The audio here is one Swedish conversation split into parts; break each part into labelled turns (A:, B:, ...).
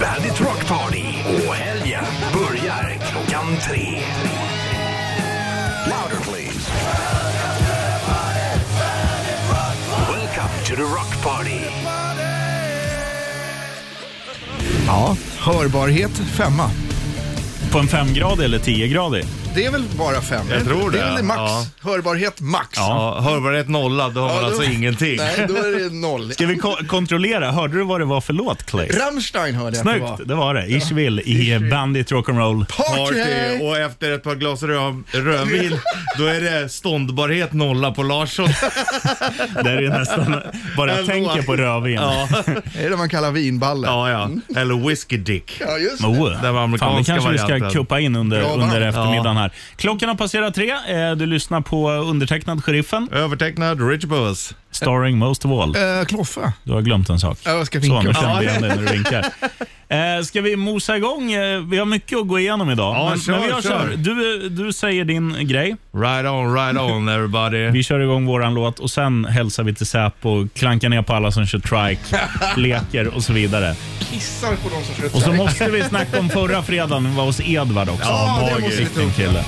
A: Bandit Rock Party och helgen börjar klockan tre. Louder please. Welcome to the Rock Party.
B: Ja, hörbarhet femma.
C: På en femgradig eller tiogradig?
B: Det är väl bara fem?
D: Jag tror
B: Det är
D: det,
B: väl max.
D: ja.
B: Hörbarhet max.
D: Ja, hörbarhet nolla, då har man
B: Ja, då-
D: alltså ingenting.
B: Nej, då är det noll.
C: Ska vi ko- kontrollera? Hörde du vad det var för låt, Clay?
B: Rammstein hörde jag att det var.
C: Snyggt, det var det. Ich will i Bandit Rock'n'Roll.
B: Party!
D: Party och efter ett par glas rö- rödvin, då är det ståndbarhet nolla på Larsson.
C: Där är det nästan, bara jag
D: Ändå.
C: tänker på rödvin.
D: Ja,
B: Det är det man kallar vinballe.
D: ja, ja. Eller whisky dick.
B: Ja, just det.
C: Oh.
D: Den var amerikanska
C: Fan, det kanske vi ska
D: varianten.
C: kuppa in under,
B: Bra
C: under
B: band.
C: eftermiddagen här. Klockan har passerat tre. Eh, Du lyssnar på undertecknad Sheriffen,
D: Övertecknad Rich Buss.
C: starring most of all.
B: Eh, Kloffe.
C: Du har glömt en sak.
B: Ja, jag ska
C: Så,
B: vinka.
C: nu
B: Ja.
C: kände jag det när du vinkar. Eh, ska vi mosa igång? Eh, vi har mycket att gå igenom idag.
D: Ja, kör,
C: vi gör så här.
D: kör.
C: Du, du säger din grej.
D: Right on, right on everybody.
C: Vi kör igång våran låt och sen hälsar vi till Säpo, klankar ner på alla som kör trike, leker och så vidare.
B: Kissar på de som
C: Och så
B: slutar.
C: måste vi snacka om förra fredagen, vi var hos Edvard också.
B: Ja, det måste vi ta
C: Vilken
B: upp.
C: kille.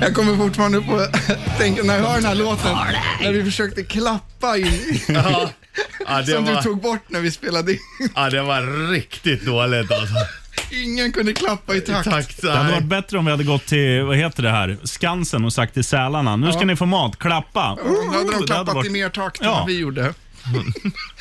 B: Jag kommer fortfarande på tänka när jag hör den här låten, när vi försökte klappa i,
D: Ja, ja, det,
B: som du
D: var,
B: tog bort när vi spelade in.
D: ja, det var riktigt dåligt alltså.
B: Ingen kunde klappa i takt.
D: Tack,
C: Det hade
D: tack.
C: varit bättre om vi hade gått till, vad heter det här, Skansen och sagt till sälarna, nu ska ni få mat, klappa.
B: Då Mm, hade
C: Det
B: de
C: hade
B: klappat
C: varit-
B: i mer takt än
C: Ja.
B: vad vi gjorde.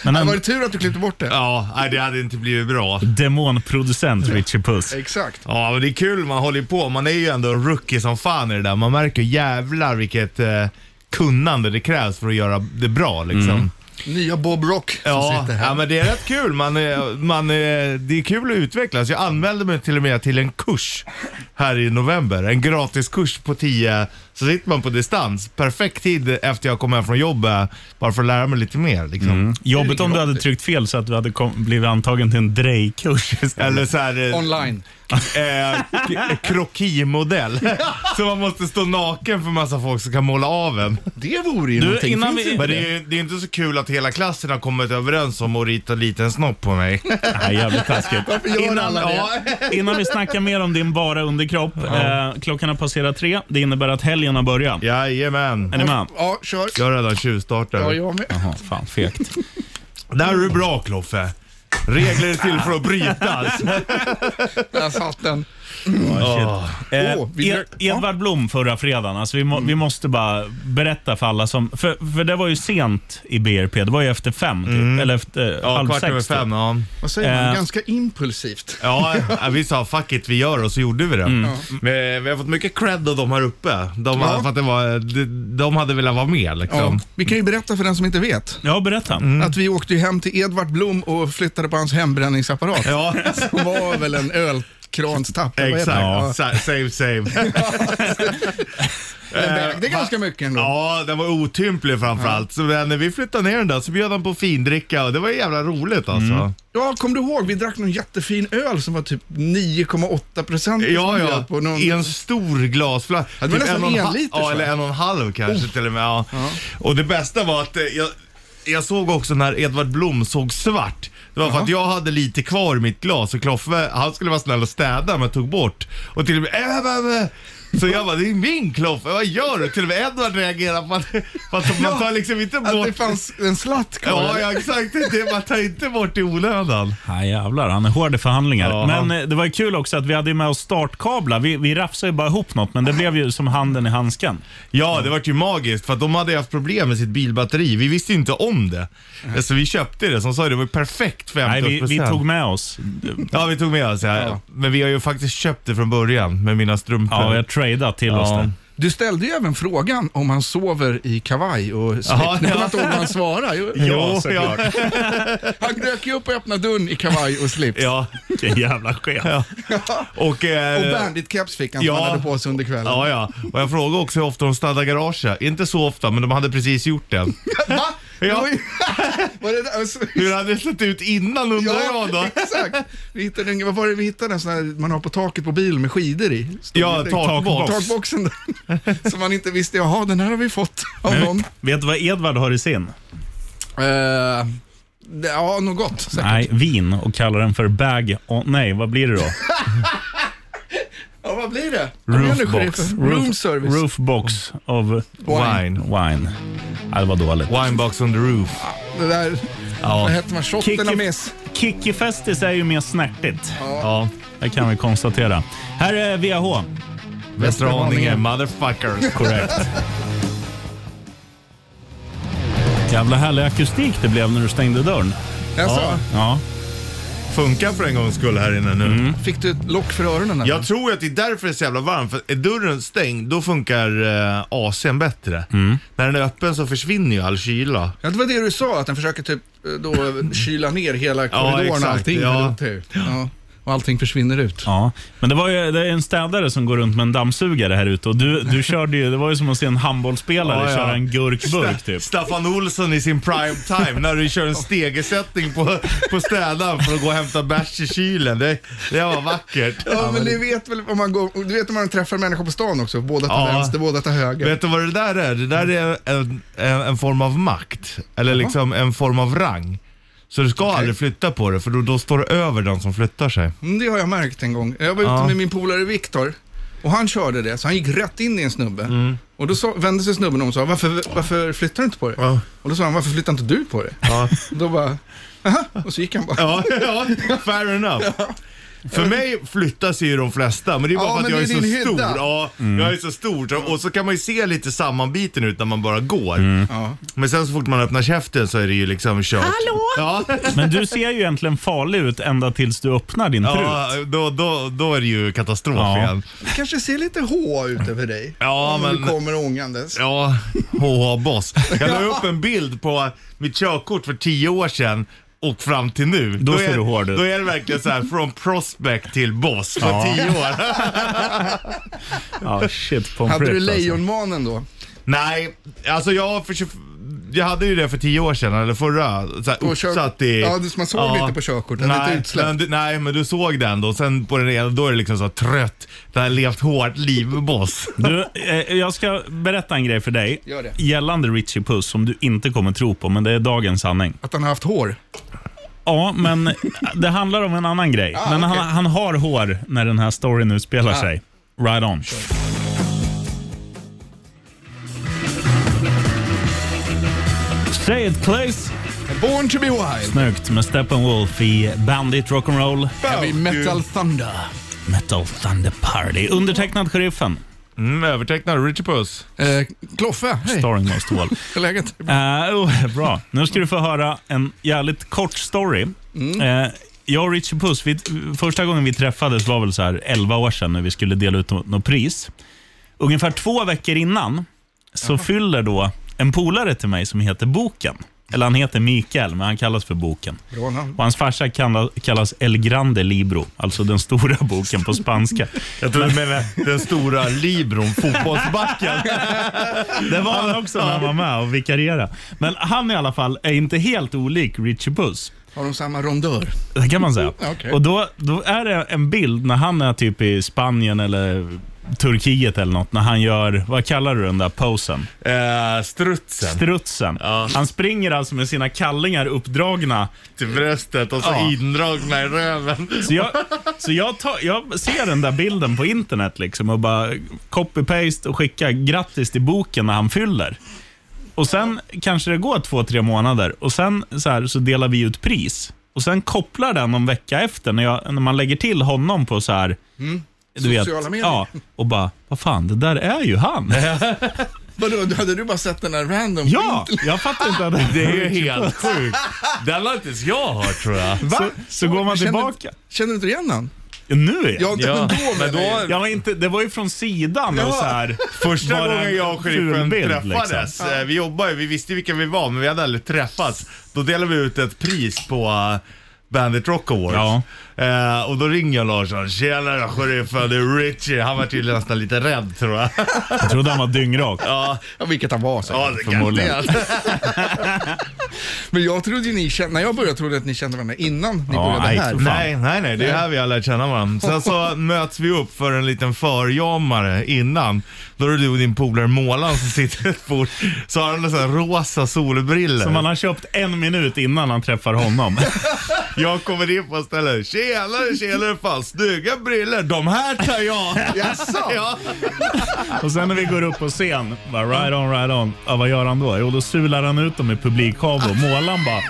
C: Men
B: Det var
C: en
B: det tur att du klippte bort det.
D: Ja, nej, det hade inte blivit bra.
C: demonproducent, Richie Puss.
B: Exakt.
D: Ja, men det är kul man håller ju på. Man är ju ändå en rookie som fan i det där. Man märker ju jävlar vilket eh, kunnande det krävs för att göra det bra liksom.
B: Nya Bob Rock som
D: Ja,
B: sitter här.
D: ja, men det är rätt kul. Man, är- man, är- det är kul att utvecklas. Jag anmälde mig till och med till en kurs här i november. En gratiskurs på 10. Så sitter man på distans. Perfekt tid efter jag kom hem från jobbet. Bara för att lära mig lite mer liksom.
B: Mm.
C: Jobbigt om du hade tryckt fel så att du hade kom, blivit antagen till en drejkurs istället.
D: Eller så här, eh,
B: Online.
D: eh, k- krokimodell. så man måste stå naken för massa folk som kan måla av en.
B: Det vore ju
C: Du,
B: någonting.
C: innan
B: Finns
C: vi-
B: Typ det-
D: Men det är ju det är inte så kul att hela klassen har kommit överens om att rita en liten snopp på mig.
C: Nej, jävligt taskigt.
B: gör alla det?
C: innan vi snackar mer om din bara underkropp. Eh, klockan har passerat tre. Det innebär att helgen har börjat.
D: Jajamän.
C: Är ni med?
B: Ja, kör.
D: Jag har redan
B: Ja,
D: tjuvstartat.
B: jag med.
C: Jaha, fan fegt.
D: Där är du bra Kloffe. Regler är till för att alltså. brytas.
B: Där satt den.
D: Åh.
C: Eh,
B: Åh, vi-
C: Ed- Edvard Blom förra fredagen. Alltså vi, må, vi måste bara berätta för alla som... För, för det var ju sent i BRP. Det var ju efter fem, typ. Eller efter
D: Ja,
C: halv
D: kvart över
C: sex.
D: fem.
C: Typ.
D: Ja.
B: Vad säger man?
C: Eh.
B: Ganska impulsivt.
D: Ja, ja, vi sa fuck it, vi gör det och så gjorde vi det. Men, vi har fått mycket cred av de här uppe. De,
B: Ja.
D: för att det var, de, de hade velat vara med liksom.
B: Ja. Vi kan ju berätta för den som inte vet
C: Ja, berätta.
D: Mm.
B: att vi åkte ju hem till Edvard Blom och flyttade på hans hembränningsapparat.
D: Ja,
B: Som var väl en ölkranstapp. eller vad heter
D: exakt.
B: det?
D: Sa- Same same.
B: Ja, den vägde ganska mycket ändå.
D: Eh, Ja, den var otymplig framförallt. Så när vi flyttade ner den där så bjöd han på findricka och det var jävla roligt alltså.
B: Ja, kom du ihåg? Vi drack någon jättefin öl som var typ 9,8 procent.
D: Ja, ja.
B: På någon...
D: I en stor glasflaska. Typ
B: Ja, det var nästan
D: en och en
B: en
D: halv-
B: liters,
D: Ja,
B: va?
D: eller en och en halv
B: Oh.
D: kanske till och med. Ja. Och det bästa var att eh, jag, jag såg också när Edvard Blom såg svart. Det var för att jag hade lite kvar i mitt glas och Kloffe, han skulle vara snäll och städa men tog bort. Och till och med, äh, äh, äh. Så jag bara, det är min Kloffe, vad gör du? Till och med Edvard reagerar på att, på att man tar liksom inte
B: Att
D: bort...
B: det fanns en slatt kvar.
D: Ja, ja, exakt. Det, man tar inte bort i onödan.
C: Ja, jävlar, han är hård i förhandlingar.
D: Ja,
C: men
D: han-
C: eh, det var ju kul också att vi hade ju med oss startkablar. Vi, vi rafsade ju bara ihop något, men det blev ju som handen i handsken.
D: Ja, det vart ju magiskt för att de hade ju haft problem med sitt bilbatteri. Vi visste ju inte om det. Så vi köpte det. Som sa, det var ju perfekt 50%.
C: Nej, vi, vi tog med oss.
D: Ja, vi tog med oss. Ja.
B: Ja.
D: Men vi har ju faktiskt köpt det från början med mina strumpor.
C: Ja, vi har tradeat till oss det.
B: Du ställde ju även frågan om han sover i kavaj och
D: Ja,
B: slips. Nu kommer jag inte ihåg vad han svarade. Jo,
D: Jo,
C: såklart.
D: ja.
B: Han dök ju upp och öppnade dörren i kavaj och slips.
D: ja.
C: Vilken jävla chef.
D: Och, eh,
B: Och banditkeps fick han som
D: Ja.
B: han hade på sig under kvällen.
D: Ja, ja. Och jag frågade också hur ofta de städar garaget. Inte så ofta, men de hade precis gjort det.
B: Va?
D: Ja.
B: Oj. Var det där? Alltså,
D: Hur hade det sett ut innan undrar jag då?
B: exakt. Vi hittade, en- vad var det vi hittade? En sån här man har på taket på bil med skidor i. Stod
D: Ja,
B: det-
D: takbox.
B: Takboxen där. Som man inte visste, jaha den här har vi fått av någon.
C: Vet du vad Edvard har i sin?
B: Eh, Ja, något gott säkert.
C: Nej, vin och kallar den för bag... Oh, nej, vad blir det då?
B: Ja, vad blir det? Kom igen nu,
C: Roofbox.
B: sheriffen. Room service.
C: Roofbox of
D: Wine.
C: wine. Ja, det var dåligt.
D: Winebox on the roof.
B: Det där,
D: Ja.
B: vad hette man? Shot eller miss?
C: Kickifestis är ju mer snärtigt.
D: ja.
C: Det kan vi konstatera. Här är VH.
D: Västra Haninge, motherfuckers.
C: Korrekt. Jävla härlig akustik det blev när du stängde dörren.
B: Jaså?
C: Ja.
D: Funkar för en gångs skull här inne nu.
C: Mm.
B: Fick du ett lock för öronen? eller?
D: Jag tror att det är därför det är så jävla varmt. För är dörren stängd, då funkar eh, AC'n bättre.
B: Mm.
D: När den är öppen så försvinner ju all kyla.
B: Ja, det var det du sa, att den försöker typ då kyla ner hela korridoren och
D: exakt,
B: allting. Typ.
D: ja.
B: Ja. Och allting försvinner ut.
C: ja. Men det var ju det är en städare som går runt med en dammsugare här ute och du, du körde ju, det var ju som att se en handbollsspelare
D: Ja, ja.
C: köra en gurkburk typ.
D: Staffan Olsson i sin prime time när du kör en stegesättning på, på städaren för att gå och hämta bärs i kylen. Det, det var vackert.
B: Ja, men ni vet väl om man går, du vet om man träffar människor på stan också, båda till
D: Ja.
B: vänster, båda till höger.
D: Vet du vad det där är? Det där är en, en, en form av makt. Eller liksom en form av rang. Så du ska aldrig flytta på det för då, då står du över den som flyttar sig.
B: Mm, Det har jag märkt en gång. Jag var ute
D: Ja.
B: med min polare Viktor och han körde det, så han gick rätt in i en snubbe.
D: Mm.
B: Och då sa, vände sig snubben om och sa, varför, varför flyttar du inte på det?
D: Ja.
B: Och då sa han, varför flyttar inte du på det?
D: Ja.
B: Och då bara, aha, och så gick han bara.
D: Ja, ja fair enough. För mig flyttar sig ju de flesta, men det är bara
B: Ja,
D: för
B: men
D: att jag är,
B: det är
D: så
B: din
D: stor.
B: hydda.
D: Ja,
C: Mm.
D: Jag är så stor. Så- Och så kan man ju se lite sammanbiten ut när man bara går.
C: Mm.
B: Ja.
D: Men sen så fort man öppnar käften så är det ju liksom kört. Hallå? Ja,
C: Men du ser ju egentligen farlig ut ända tills du öppnar din trut.
D: ja då, då, då är det ju katastrof
C: Ja.
D: igen.
B: Det kanske ser lite H ut över dig.
D: Ja,
B: Om
D: men-
B: Du kommer ångandes.
D: Ja, HH Boss. Jag la upp en bild på mitt körkort för tio år sedan och fram till nu.
C: Då ser
D: är,
C: du hård ut.
D: Då är det verkligen så här från prospect till boss på
C: Ja.
D: tio år.
C: Ja, shit pommes
B: Hade du
C: frites, alltså.
B: lejonmanen då?
D: Nej, alltså jag för 20 jag hade ju det för tio år sedan, eller förra. Så här,
B: På kör-
D: uppsatt i...
B: Ja, du- man såg lite på körkortet,
D: nej,
B: lite utsläppt.
D: men du- nej, men du såg den då. Sen på den ena, då är det liksom så här, trött. Det har levt hårt liv, boss.
C: Du, eh, jag ska berätta en grej för dig
B: Gör det.
C: gällande Richie Puss som du inte kommer tro på, men det är dagens sanning.
B: Att han har haft hår?
C: Ja, men det handlar om en annan grej.
B: Ah,
C: men
B: okej. Ah.
C: han, han har hår när den här storyn utspelar sig. Right on. Say it please.
B: Born to be wild.
C: Snyggt med Steppenwolf i Bandit Rock'n'Roll
B: Heavy metal thunder.
C: Metal Thunder Party. Undertecknad Sheriffen,
D: Mm, övertecknad, Richie Puss.
B: Eh, Kloffe, hej. Hur
C: starring Most of all.
B: är läget?
C: Eh, oh, bra. Nu ska du få höra en jävligt kort story. Eh, jag och Richie Puss, vi, första gången vi träffades var väl så här 11 år sedan när vi skulle dela ut nå- något pris. Ungefär två veckor innan så fyller då en polare till mig som heter Boken. Eller han heter Mikael, men han kallas för Boken.
B: Bra namn.
C: Och hans farsa kalla- kallas El Grande Libro, alltså den stora boken på spanska.
D: Jag tror du menar den stora libron, fotbollsbacken.
C: Det var han också när han var med och vikarierade. Men han i alla fall är inte helt olik Richie Puss.
B: Har de samma rondör?
C: Det kan man säga.
B: Okej.
C: Och då, då är det en bild när han är typ i Spanien eller Turkiet eller något, när han gör, vad kallar du den där posen?
D: Eh, strutsen
C: Strutsen.
D: Ja.
C: Han springer alltså med sina kallingar uppdragna.
D: till bröstet och så
C: Ja.
D: indragna i röven.
C: Så, jag, så jag, tar, jag ser den där bilden på internet liksom och bara copy-paste och skicka grattis till boken när han fyller. Och sen kanske det går två, tre månader och sen så, här, så delar vi ut pris. Och sen kopplar den någon vecka efter när, jag, när man lägger till honom på så här... Du
B: Mm. Sociala medier.
C: Ja, och bara, vad fan, det där är ju han.
B: Vadå, hade du bara sett den där random?
C: Ja, jag fattar inte. Att
D: Det är ju helt sjukt. Den har inte ens jag hört tror jag.
C: Så, så går man
B: Känner-
C: tillbaka.
B: Känner du inte igen han?
C: Nu är
B: Ja,
C: jag...
B: men
D: Ja,
B: då
D: men
B: men
D: då-
B: då...
C: Jag var inte, det var ju från sidan och
B: Ja.
C: så här...
D: Första
C: Bara
D: gången jag och sheriffen
C: fulbild,
D: träffades,
C: liksom.
D: eh, vi jobbade ju, vi visste vilka vi var men vi hade aldrig träffats. Då delade vi ut ett pris på eh, Bandit Rock Awards.
C: Ja.
D: Eh, och då ringer jag Larsson. Tjenare sheriffen, det är Richie. Han var tydligen nästan lite rädd tror jag.
C: Jag trodde han var dyngrak.
D: ja,
B: Ja, vilket han var. Så.
D: ja, det
C: Förmodligen.
D: garanterat.
B: Men jag trodde ju ni kände, när jag började trodde jag att ni kände varandra innan ni
C: Ja,
B: började
C: nej,
B: här.
C: så fan.
D: Nej, nej, nej. Det är här vi har lärt känna varandra. Sen så möts vi upp för en liten förjammare innan. Då är det du och din polare Målan som sitter i ett bord. Så har han en sån här rosa solbriller.
C: Som han har köpt en minut innan han träffar honom.
D: Jag kommer in på stället. Tjenare, tjenare. Fan, snygga briller. De här tar jag. Jaså? Ja.
C: Och sen när vi går upp på scen, bara right on, right on. Ja, vad gör han då? Jo, då sular han ut dem i publikhav målan bara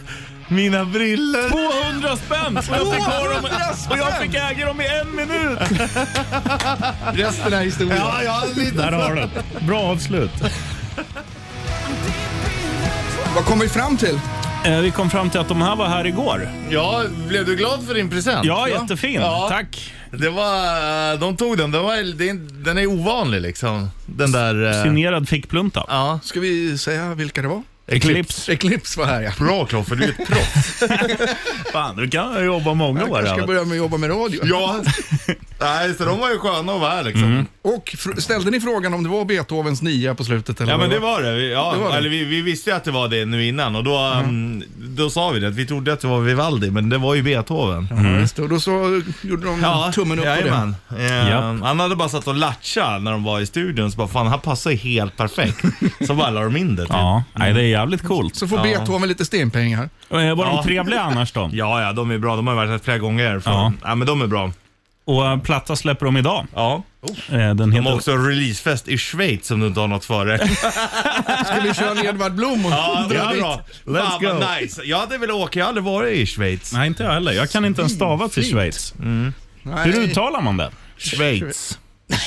D: Mina briller.
C: 200 spänn! Och jag fick, ha dem, och jag fick äga dem i en minut!
B: Resten är historia.
D: Ja, ja, lite.
C: Där har du Bra avslut.
B: Vad kom vi fram till?
C: Eh, vi kom fram till att de här var här igår.
D: ja, blev du glad för din present?
C: Ja, jättefin.
D: Ja.
C: Tack.
D: Det var, eh, de tog den. Den, var, det är- den är ovanlig liksom. Den där... eh,
C: Signerad fickplunta.
D: Ja.
B: Ska vi säga vilka det var?
C: Eclipse.
B: Eclipse var här ja.
D: Bra Kloffe, du är ett proffs.
C: Fan, du kan jobba många
B: Jag
C: år.
B: kanske ska
C: här.
B: börja med att jobba med radio.
D: Ja. Nej, så de var ju sköna att vara här liksom.
B: Och fr- ställde ni frågan om det var Beethovens nia på slutet? Eller
D: Ja
B: vad
D: men det var det. Vi- Ja,
B: Det var det.
D: Eller vi, vi visste ju att det var det nu innan och då, mm. då sa vi det. Att vi trodde att det var Vivaldi men det var ju Beethoven.
B: Ja, just det. Och då så gjorde de tummen upp på
D: jajamän. Eh,
C: Japp.
D: Han hade bara satt och latcha när de var i studion så bara fan han passar ju helt perfekt. så bara la de in det typ. ja.
C: Ja, nej, det är jävligt coolt.
B: det. Så får Beethoven lite stenpengar.
C: Eh, Var de
D: Ja.
C: trevliga annars då?
D: ja de är bra. De har varit här flera gånger. För,
C: Ja.
D: ja. men de är bra.
C: Och eh, platta släpper de idag.
D: Ja.
C: Eh, Den
D: De har
C: heter...
D: också releasefest i Schweiz som du inte har något före.
B: Ska vi köra en Edvard Blom och
D: Ja, det
B: dra
D: är
B: dit?
D: bra.
C: Let's
D: Fan vad
C: go.
D: nice. Jag hade velat åka, jag har aldrig varit i Schweiz.
C: Nej, inte jag heller. Jag kan inte ens stava till Schweiz.
B: Nej.
C: Hur uttalar man det?
D: Schweiz.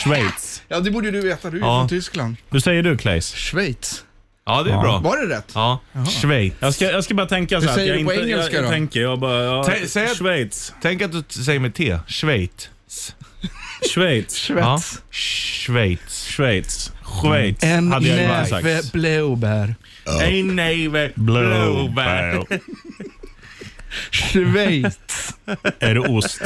C: Schweiz.
B: Ja, det borde ju du veta. Du är ju
D: Ja.
B: från Tyskland.
C: Hur säger du, Claes?
B: Schweiz.
D: Ja, det är bra.
B: Var det rätt?
D: Ja. Schweiz.
C: Jag ska, jag ska bara tänka så
B: Hur
C: här. att
B: säger
C: jag
B: du på
C: inte,
B: engelska
C: jag, jag
B: då?
C: tänker, jag bara... Ja,
D: Tä- säg att-
C: Schweiz.
D: Tänk att du t- säger med T. Schweiz.
C: Schweiz.
D: Ja.
B: Schweiz.
D: Schweiz.
C: Schweiz. Schweiz.
B: En
C: hade jag ju bara
B: näve
C: sagt.
B: blåbär.
D: En näve blåbär.
C: Blåbär.
B: Schweiz.
C: Är det ost?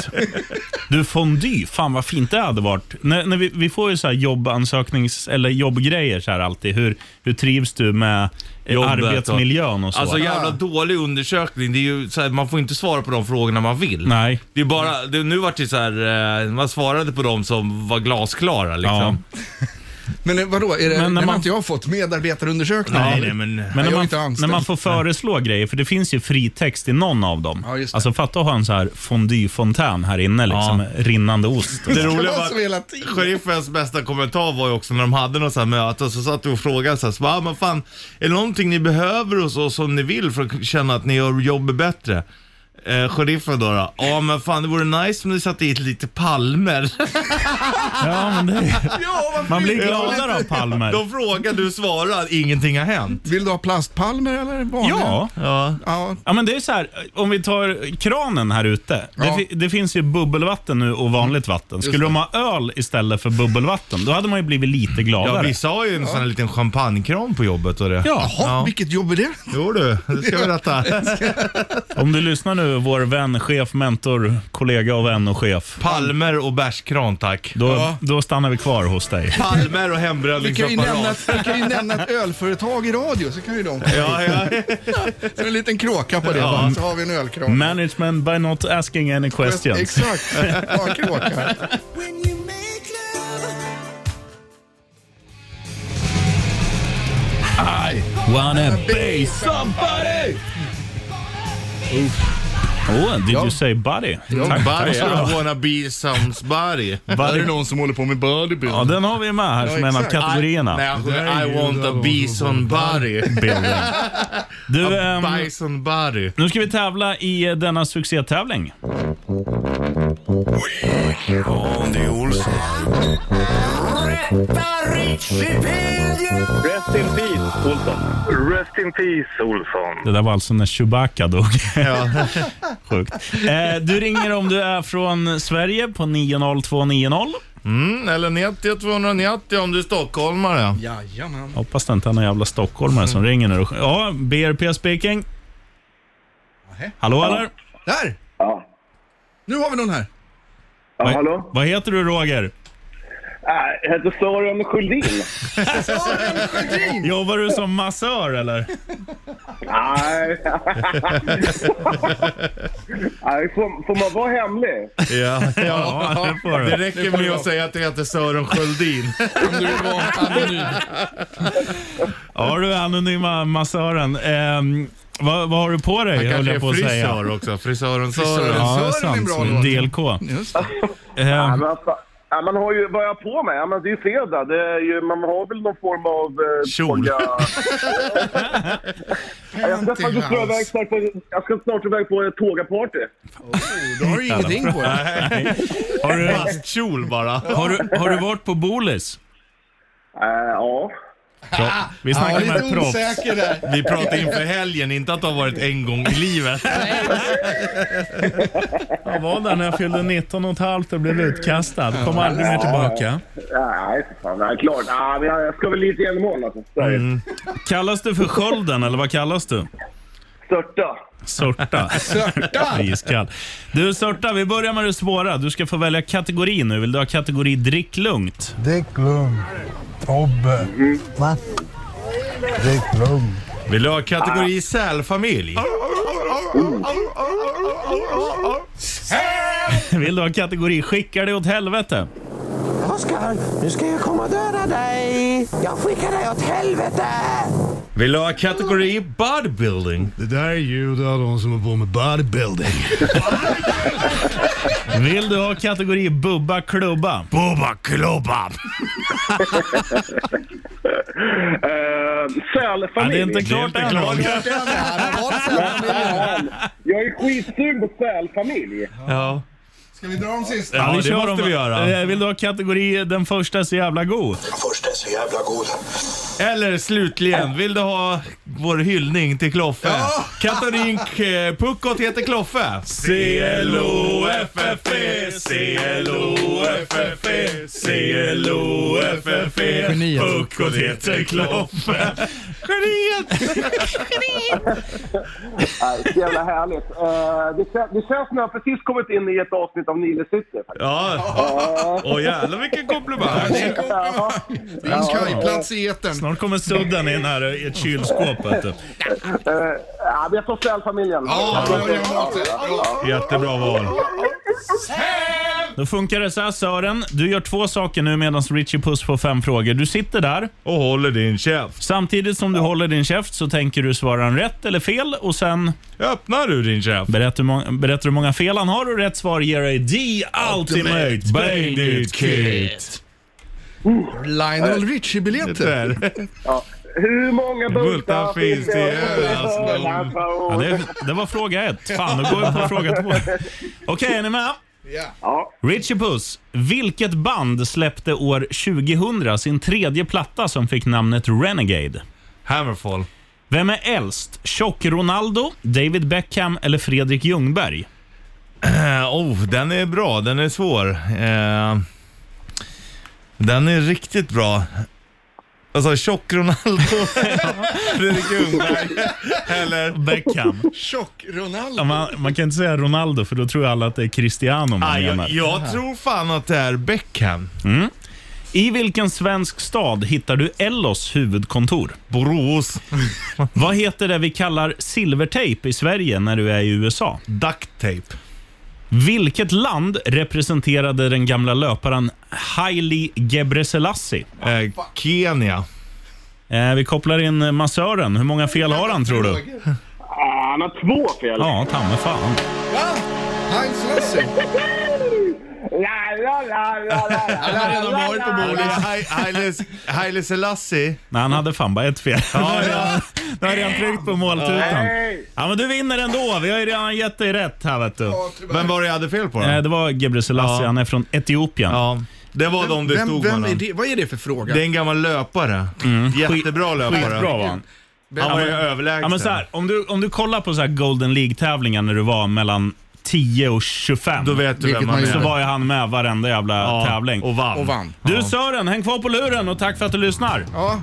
C: Du, fondue. Fan vad fint det hade varit. När, när vi, vi får ju så här jobbansöknings eller jobbgrejer så här alltid. Hur, hur trivs du med eh,
D: Jobbet och-
C: arbetsmiljön och så?
D: Alltså jävla dålig undersökning. Det är ju så här, man får inte svara på de frågorna man vill.
C: Nej.
D: Det är bara, det, nu vart det så här, eh, man svarade på de som var glasklara liksom.
B: Men eh, vadå, är det,
C: Men när
B: den har
C: man-
B: inte jag fått. Medarbetarundersökning.
D: Nej, nej, men...
C: Men
B: jag
C: när
B: är
C: man,
B: inte anställd.
C: när man får föreslå grejer, för det finns ju fri text i någon av dem.
B: Ja, just det.
C: alltså fatta att ha en så här fondyfontän här inne, liksom,
D: Ja.
C: med rinnande ost.
D: Det
B: Det
D: roliga
B: var
D: var
B: så hela tiden.
D: Sheriffens bästa kommentar var ju också när de hade något sånt här möte och så satt du och frågade så här, så bara, "Ah, men fan, är det någonting ni behöver hos oss som ni vill för att känna att ni gör jobbet bättre? Eh, sheriffen då, då, ja men fan det vore nice om ni satte dit lite palmer.
C: Ja, men det,
B: Ja, vad
C: man blir
B: fint.
C: gladare av palmer.
D: De frågar, du svarar, ingenting har hänt.
B: Vill du ha plastpalmer eller vanliga?
C: Ja.
D: Ja.
B: ja.
C: Ja, men det är så här, om vi tar kranen här ute. Det,
B: Ja.
C: fi- det finns ju bubbelvatten nu och vanligt vatten. Skulle de ha öl istället för bubbelvatten, då hade man ju blivit lite
D: Ja,
C: gladare.
D: vissa har ju en sån här liten champagnekram på jobbet och det.
C: Ja.
B: Jaha,
D: Ja.
B: vilket jobb är det?
D: Jo du, det ska jag berätta.
C: Om du lyssnar nu, vår vän, chef, mentor, kollega och vän och chef.
D: Palmer och bärskran tack.
C: Då,
B: Ja.
C: då stannar vi kvar hos dig.
D: Palmer och
B: Vi kan, ju
C: Liksom
B: nämna,
D: hembränningsapparat.
B: vi kan ju nämna ett ölföretag i radio, så kan ju de.
D: Ja, ja.
B: Så en liten kråka på det,
D: Ja.
B: bara, så har vi en ölkran.
C: Management by not asking any questions.
B: Exakt, bara kråka.
E: When you make love,
C: Wanna be somebody! Oh, did you say buddy? Tack, tack
D: Buddy,
C: ska du ha.
D: I wanna be somebody.
B: Är det någon som håller på med bodybuilding?
C: Ja, den har vi med här
B: Ja,
C: som en av
B: exakt.
C: kategorierna.
D: Nej, jag sjunger I want to be somebody.
C: Bilden. Du, ehm,
D: By somebody.
C: nu ska vi tävla i eh, denna succétävling.
A: Andy Olsson.
F: Rest in peace, Olsson. Rest in peace, Olsson.
C: Det där var alltså när Chewbacca dog. Sjukt. Eh, du ringer om du är från Sverige på 90290.
D: Mm, eller 90 290 om du är stockholmare.
B: Jajamän.
C: Hoppas det inte är någon jävla stockholmare som ringer nu. Ja, BRP speaking. Hallå eller?
B: Där!
F: Ja.
B: Nu har vi någon här.
F: ja
C: Vad-
F: hallå?
C: Vad heter du Roger?
F: Äh, jag heter Florian Sjöldin.
C: Jobbar du som massör eller?
F: Nej. Nej, får, får man vara hemlig?
D: Ja, ja.
C: Ja, det får du.
D: Det räcker med att säga att du heter Sören Sköldin.
B: Om du vill vara anonym.
C: Ja du anonyma massören. Ehm, vad, vad har du på dig?
D: Han
C: höll
D: kanske
C: jag på
D: är
C: att säga.
D: frisör också. Frisören
B: Frisören.
D: Sören.
C: Ja, det är
B: Sören är en
C: sant.
B: bra
C: Som en
B: låt.
C: DLK.
B: Just det.
F: Ja,
C: Ehm,
F: men vad fan. Ja, man har ju, vad har jag på mig? Ja, men det är ju fredag. Det är ju, man har väl någon form av... Eh,
D: Kjol.
F: olja. jag ska faktiskt dra iväg
B: Pantyhouse.
F: snart på, jag ska snart iväg på ett tågaparty.
B: Då har du ingenting på dig.
C: har, du,
D: Fastkjol bara.
C: har, du, har du varit på Bolis?
F: Eh, ja.
C: Vi
B: Ja,
C: snackar med
B: lite
C: proffs.
B: osäker där.
D: Vi pratar inför helgen, inte att det har varit en gång i livet.
C: Jag var där när jag fyllde 19 och ett halvt och blev utkastad. Kom aldrig mer tillbaka.
F: Nej, för fan. Nej, klart. Ja, men jag jag ska väl lite i en mål alltså. Så
C: Mm.
F: är det.
C: Kallas du för Skölden eller vad kallas du?
F: Störta.
C: Sorta.
B: Sörta!
C: Iskall. Du Sorta, vi börjar med det svåra. Du ska få välja kategori nu. Vill du ha kategori drick lugnt?
G: Dick Lund. Tobbe. Va? Dick Lund.
D: Vill du ha kategori sälfamilj?
C: Vill du ha kategori skickar dig åt helvete?
H: Oskar, nu ska jag komma och döda dig! Jag skickar dig åt helvete!
D: Vill du ha kategori bodybuilding?
G: Det där är ljud av de som är på med bodybuilding.
C: Vill du ha kategori bubba klubba?
D: Bubba klubba!
F: Eh,
C: Ja, det
F: Sälfamilj.
C: är inte klart
D: inte
C: än.
D: klart.
F: Jag är skitsugen på sälfamilj.
D: Ja.
B: Ska vi dra de sista?
C: Ja,
D: Ja,
C: vi
D: det
C: kör
D: måste
C: dem.
D: vi göra.
C: Eh, Vill du ha kategori den första är så jävla god?
D: Eller slutligen, vill du ha vår hyllning till Kloffe? Ja. Kategorin
C: Eh,
D: K- Puckot heter Kloffe.
C: E,
D: C-L-O-F-F-E, C-L-O-F-F-E,
C: E.
D: C-L-O-F-F-E.
G: Geniet.
D: Puckot heter Kloffe. Geniet!
F: Nej, så jävla härligt. Eh, det, kän- det känns som att jag precis kommit in i ett avsnitt av Nile City. faktiskt.
D: Ja. Åh jävlar vilken komplimang.
F: Ja.
B: Din kajplats i etern.
C: Snart kommer sudden in här i ett kylskåp. vet du.
F: Eh, ja, men jag tar sälfamiljen.
B: Ja, det var det jag måste. Ja.
D: Jättebra val.
C: Då funkar det så här Sören. Du gör två saker nu medan Richie Puss får fem frågor. Du sitter där.
D: Och håller din käft.
C: Samtidigt som du håller din käft så tänker du svara han rätt eller fel och sen
D: Öppnar du din käft?
C: berättar du, må- berättar du hur många fel han har och rätt svar ger dig The Ultimate Bandit Kit.
B: Lionel Richie-biljetter.
D: Där.
F: Hur många
D: Bultar
F: bultar
D: finns
F: finns
D: det i
F: det i
D: Ölandsbron?
C: Ja,
F: Ölandsbron?
C: det, det var fråga ett. Fan, nu går jag på fråga två. Okej, är ni med?
F: Ja.
C: Richie Puss, vilket band släppte år 2000 sin tredje platta som fick namnet Renegade?
D: Hammerfall.
C: Vem är äldst? Tjock Ronaldo, David Beckham eller Fredrik Ljungberg?
D: Eh, oh, den är bra. Den är svår. Eh, den är riktigt bra. Alltså tjock Ronaldo, Fredrik Ljungberg eller...
C: Beckham.
B: Tjock-Ronaldo.
C: Ja, Man, man kan inte säga Ronaldo för då tror alla att det är Cristiano man
D: Ah,
C: menar.
D: jag, jag tror fan att det är Beckham.
C: I vilken svensk stad hittar du Ellos huvudkontor?
D: Borås.
C: Vad heter det vi kallar silvertejp i Sverige när du är i USA?
D: Duct tape.
C: Vilket land representerade den gamla löparen Haile Gebrselassie?
D: Eh, Kenya.
C: Eh, vi kopplar in eh, massören. Hur många fel har han tror du?
F: Ah, Han har två fel.
C: Ja, ta mig fan.
B: Va? Heinz Lasse.
F: La, la, la, la, la,
B: Alla har redan varit på
D: Eller
B: bordet.
D: Hai- Haile Haile Selassie.
C: Nej, han hade fan bara ett fel.
D: Ja, ja.
C: Nu har jag redan tryckt på måltutan.
F: Nej!
C: Ja, men du vinner ändå. Vi har ju redan gett dig rätt här vet du.
D: Vem var det jag hade fel på då?
C: Eh, det var Gebrselassie.
D: Ja.
C: Han är från Etiopien.
D: Ja, det var de det
B: Vem,
D: stod
B: vem är
D: mellan.
B: det? Vad är det för fråga?
D: Det är en gammal löpare. Jättebra löpare.
C: Mm. Skitbra var han.
D: Han var ju
C: Ja, men-
D: överlägsen.
C: Ja, men så här, om, du, om du kollar på så här Golden League-tävlingar när du var mellan 10 och 25.
D: Då vet du
B: Vilket
D: vem
B: man
D: han
B: gjorde.
C: så
D: är.
C: var ju han med varenda jävla
D: Ja,
C: tävling.
D: Och vann.
B: Och vann.
C: Du Sören, häng kvar på luren och tack för att du lyssnar.
B: Ja,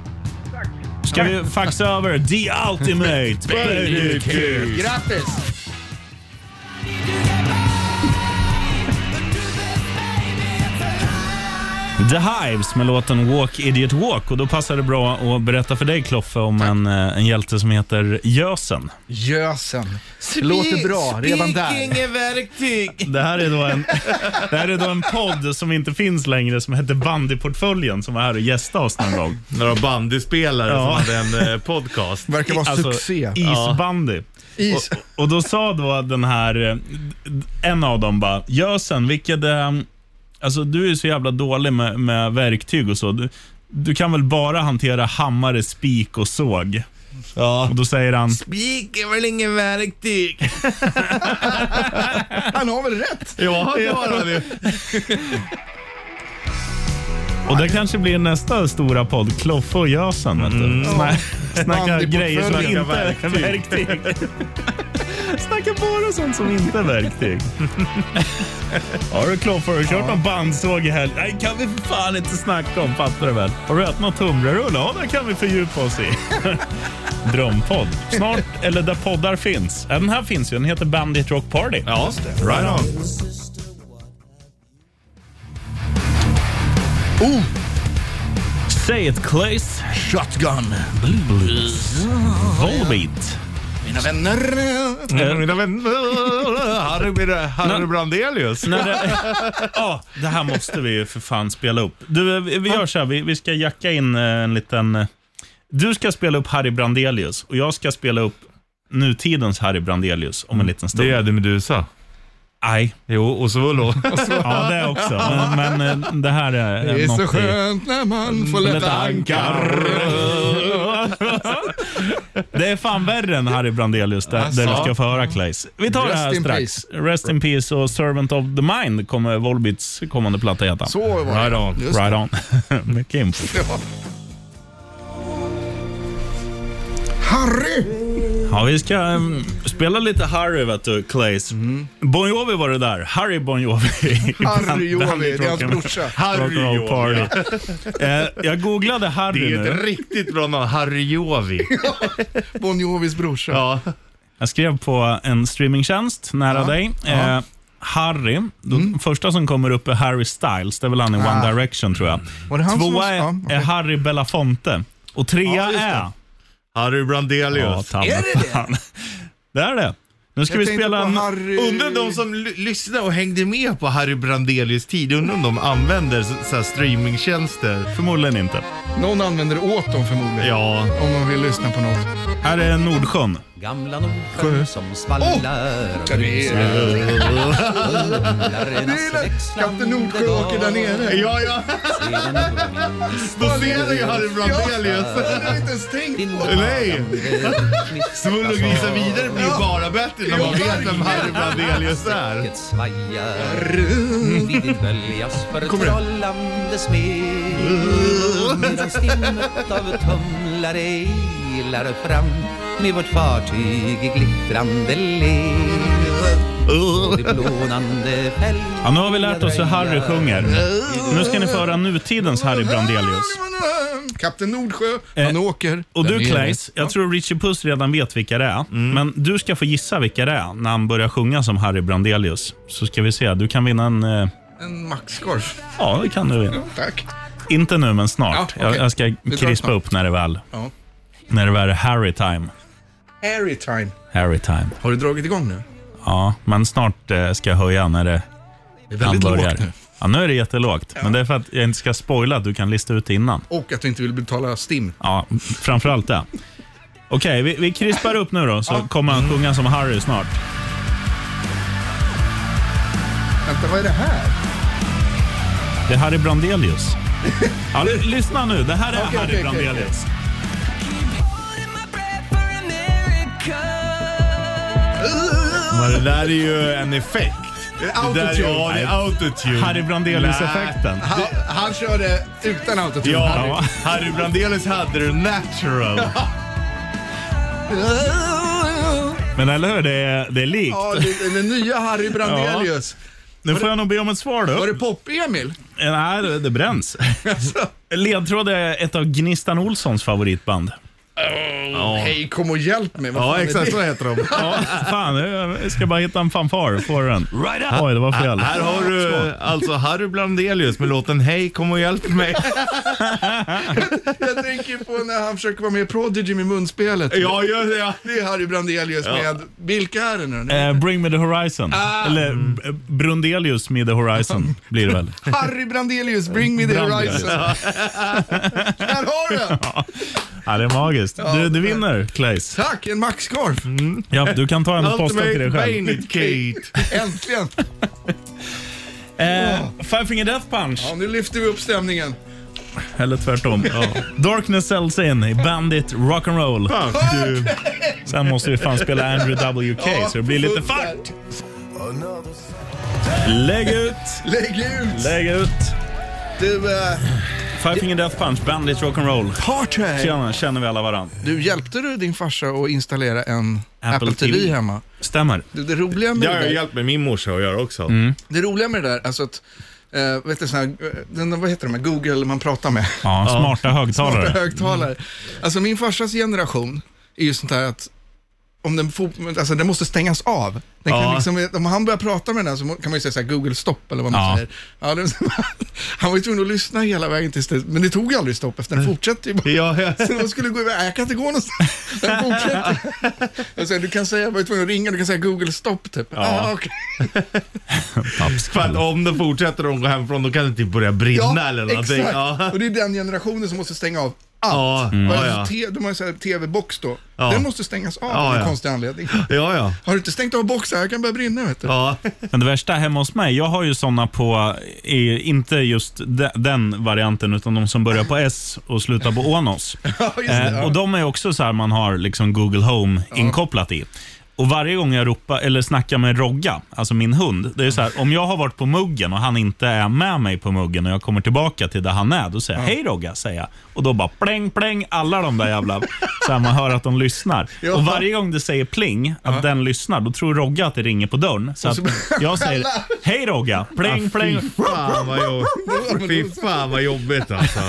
C: Ska vi faxa över The Ultimate Baby Kid?
B: grattis!
E: Do that
C: The Hives med låten Walk Idiot Walk. Och Då passar det bra att berätta för dig, Kloffe, om en, eh, en hjälte som heter Gösen.
B: Gösen. Låter bra redan där.
D: Speaking verktyg.
C: Det här är då en, det här är då en podd som inte finns längre som heter Bandyportföljen som var här och gästade oss någon gång.
D: Några bandyspelare
C: Ja.
D: som hade en eh, podcast.
B: Verkar vara
C: Alltså,
B: succé.
C: Isbandy.
B: Is.
C: Och, och då sa då den här, eh, en av dem bara, Jösen, vilket, eh, alltså du är så jävla dålig med, med verktyg och så. Du, du kan väl bara hantera hammare, spik och såg?
D: Ja.
C: Och då säger han,
D: Spik är väl ingen verktyg?
B: Han har väl rätt?
D: Ja, det var det.
C: och det kanske blir nästa stora podd, Kloffe och Jösen. Vet du. Sna- snacka grejer som
D: Mm. Bandyportföljen.
C: inte är verktyg. snacka bara sånt som inte är verktyg. Har du Kloffe, har du kört någon bandsåg i helgen? Nej, kan vi för fan inte snacka om, fattar du väl? Har du ätit någon tumlerulle? Ja, det kan vi fördjupa oss i. Drömpodd. Snart, eller där poddar finns. Ja, Den här finns ju, den heter Bandit Rock Party.
D: Ja, right on.
C: Say it Clays.
B: Shotgun.
C: Volbeat.
B: Mina vänner.
D: Mm. Mina vänner, Harry, Harry Brandelius.
C: Nej, det, ja, det här måste vi ju för fan spela upp. Du, eh, vi, vi gör så här, vi, vi ska jacka in eh, en liten... eh, Du ska spela upp Harry Brandelius och jag ska spela upp nutidens Harry Brandelius om en liten stund.
D: Det är det Medusa.
C: Nej,
D: Jo, och så då.
C: ja det också. Men, men eh, det här är,
B: Det är
C: något
B: så
C: i-
B: skönt när man får lätta ankar.
C: Det är fan värre än Harry Brandelius, där, där du ska få höra Claes. Vi tar det här
B: Alltså. Rest in
C: strax. Rest in peace och Servant of the Mind kommer Volbits kommande platta heta.
B: Så var
D: Right
B: det.
D: on.
B: Just
C: Right on. Mycket info.
B: Harry!
C: Ja, vi ska mm, spela lite Harry, vet du, Claes. Bon Jovi var det där. Harry Bon Jovi. i Band-
B: Mhm. Harry Jovi,
C: Bandit
B: det är hans
C: Rock'n'Roll-
B: brorsa.
D: Harry
C: Rock'n'Roll
D: Jovi.
C: Party. Eh, Jag googlade
D: Det är
C: Harry
D: ju
C: nu.
D: ett riktigt bra namn. Harry Jovi.
B: Bon Jovis brorsa.
D: Ja.
C: Jag skrev på en streamingtjänst nära dig. Eh, Harry, den
B: Mm.
C: första som kommer upp är Harry Styles. Det är väl han i One Direction tror jag.
B: Var det Ah. han som-
C: Tvåa är,
B: ja, okej.
C: är Harry Belafonte och trea är...
D: Harry
C: Ja,
D: Brandelius.
C: ta mig
B: Är det
C: fan. det? är det. Nu ska
B: Jag
C: vi
B: tänkte
C: spela
B: på
C: en...
B: Harry...
D: Undrar om de som l- lyssnade och hängde med på Harry Brandelius tid, undrar om de använder så, så här streamingtjänster?
C: Förmodligen inte.
B: Någon använder det åt dem förmodligen.
D: Ja.
B: Om man vill lyssna på något.
C: Här är Nordsjön.
I: Gamla Nordsjön som svallar och
B: Ja,
C: Oh!
B: det är
I: rullar
B: Kapten Nordsjö åker där nere.
D: Ja, ja. Då ser du ju Harry Brandelius.
B: Jag har inte ens tänkt på det.
D: Nej. Svull och grisa vidare blir ju bara bättre när man vet vem Harry Brandelius är.
I: svajar Vid ditt böljas förtrollande smed Medan stimmet av tumlare ilar fram Med vårt fartyg i glittrande led Och det blånande fälg
C: Uh. Ja, nu har vi lärt oss hur Harry sjunger. Nu ska ni föra nutidens Harry Brandelius.
B: Kapten Nordsjö, han
C: Eh,
B: åker.
C: Och
B: där
C: du
B: nere.
C: Claes, jag tror Richie Puss redan vet vilka det är.
B: Mm.
C: Men du ska få gissa vilka det är när han börjar sjunga som Harry Brandelius. Så ska vi se, du kan vinna en... eh,
B: En maxskorv.
C: Ja, det kan du vinna.
B: Tack.
C: Inte nu, men snart.
B: Ja,
C: jag,
B: okej.
C: jag ska
B: Vi drar
C: krispa
B: snart.
C: upp när det väl...
B: Ja.
C: När det väl är Harry time.
B: Harry time.
C: Harry time.
B: Har du dragit igång nu?
C: Ja, men snart eh, ska jag höja när det
B: Det är väldigt
C: han börjar.
B: lågt nu.
C: Ja, nu är det jättelågt. Men det är för att jag inte ska spoila att du kan lista ut det innan.
B: Och att du inte vill betala STIM.
C: Ja, framförallt det. Okej, vi, vi krispar upp nu då så kommer han sjunga som Harry snart.
B: Vänta, vad är det här?
C: Det här är Brandelius. Ja, l- lyssna nu, det här är
B: Okej,
C: Harry
B: okej, okej,
C: Brandelius.
D: Men det där är ju en effekt. Det där,
B: Autotune.
D: ja, det är autotune.
C: Harry Brandelius-effekten.
B: Han, han körde utan autotune.
D: Ja,
B: Harry.
D: Harry. Harry Brandelius hade det natural.
C: Men eller hur, det är, det är likt.
B: Ja, det, den nya Harry Brandelius.
C: Nu får jag nog be om ett svar Eh,
B: Var det
C: då.
B: Pop-Emil? Alltså,
C: Nej, det- det bränns. Ledtråd är ett av Gnistan Olssons favoritband.
B: Hej, kom och hjälp mig. Vad
D: Ja,
B: fan är
D: exakt
B: det?
D: så heter de.
C: Ja, fan, eh, jag ska bara hitta en fanfar. Får du den? Oj, det var fel.
D: Här har du eh, alltså Harry Blandelius med låten Hej kom och hjälp mig.
B: Jag tänker på när han försöker vara med i Prodigy med munspelet.
D: Ja, gör det. ja.
B: Det är Harry Brandelius med, vilka är det nu?
C: Eh, bring me the horizon. Eller eh, Brundelius med the horizon blir det väl.
B: Harry Brandelius, bring me the
C: Brandelius.
B: horizon. Där har du den!
C: Ja, det är magiskt. Du, du vinner, Claes.
B: Tack, en maxscarf.
C: Ja, du kan ta en och posta till dig
D: Ultimate
C: själv.
D: Bainit Kate.
B: Äntligen!
C: Eh, Five Finger Death Punch,
B: Ja, nu lyfter vi upp stämningen.
C: eller tvärtom. Darkness sells in i Bandit Rock'n'Roll. Sen måste vi fan spela Andrew WK så det blir lite
B: fullt där.
C: fart. Lägg ut,
B: Lägg ut!
C: lägg ut.
B: Du, eh,
C: Five Finger Death Punch, Bandit Rock'n'Roll.
B: Party!
C: Tjena, känner vi alla varandra.
B: Du, hjälpte du din farsa att installera en Apple, TV.
C: TV
B: hemma?
C: Stämmer.
B: Du, det roliga med
D: Det har
B: det
D: jag
B: där,
D: hjälpt med min morsa att göra också.
B: det roliga med det där, alltså att, eh, vet du, sån här, eh, den, vad heter de här, Google man pratar med?
C: Ja, smarta högtalare.
B: smarta högtalare.
D: Mm.
B: Alltså min farsas generation är ju sånt här att om den, fo- alltså, den måste stängas av. Den kan
D: Ja.
B: liksom, om han börjar prata med den här så må- kan man ju säga så här, Google stopp eller vad man
C: Ja.
B: säger. Ja, det, han var ju tvungen att lyssna hela vägen tills det, men det tog aldrig stopp efter den fortsatte ju bara.
D: Ja, ja.
B: Så de skulle gå iväg, "Nej, jag kan inte gå någonstans. Den fortsätter. Jag säger, du kan säga, jag var ju tvungen att ringa, du kan säga Google stopp typ. Ja. Ah, okej.
D: För att om den fortsätter och de går hemifrån då kan den typ börja brinna
B: ja,
D: eller någonting.
B: exakt.
D: Ja.
B: Och det är den generationen som måste stänga av allt.
D: Ja, mm.
B: Bara
D: ja,
B: en
D: ja.
B: alltså te- De har ju så här TV-box då.
D: Ja.
B: Den måste stängas av
D: Ja,
B: av en
D: ja.
B: konstig anledning.
D: Ja, ja.
B: Har du inte stängt av boxen? Jag kan börja brinna vet du.
D: Ja,
C: Men det värsta hemma hos mig, jag har ju sådana på, eh, inte just de, den varianten, utan de som börjar på S och slutar på Onos.
B: just det,
C: eh,
B: ja.
C: och de är också så här man har liksom Google Home inkopplat i. Och varje gång jag ropar eller snackar med Rogga, alltså min hund, det är så här, om jag har varit på muggen och han inte är med mig på muggen och jag kommer tillbaka till där han är, då säger jag hej Rogga, säger jag. Och då bara pläng, pläng, alla de där jävla, så här, man hör att de lyssnar.
B: Ja.
C: Och varje gång det säger pling, att den lyssnar, då tror Rogga att det ringer på dörren. Så att jag säger hej Rogga, pling, pling.
D: Ah, fan vad, jobb... Fy fan vad jobbigt alltså.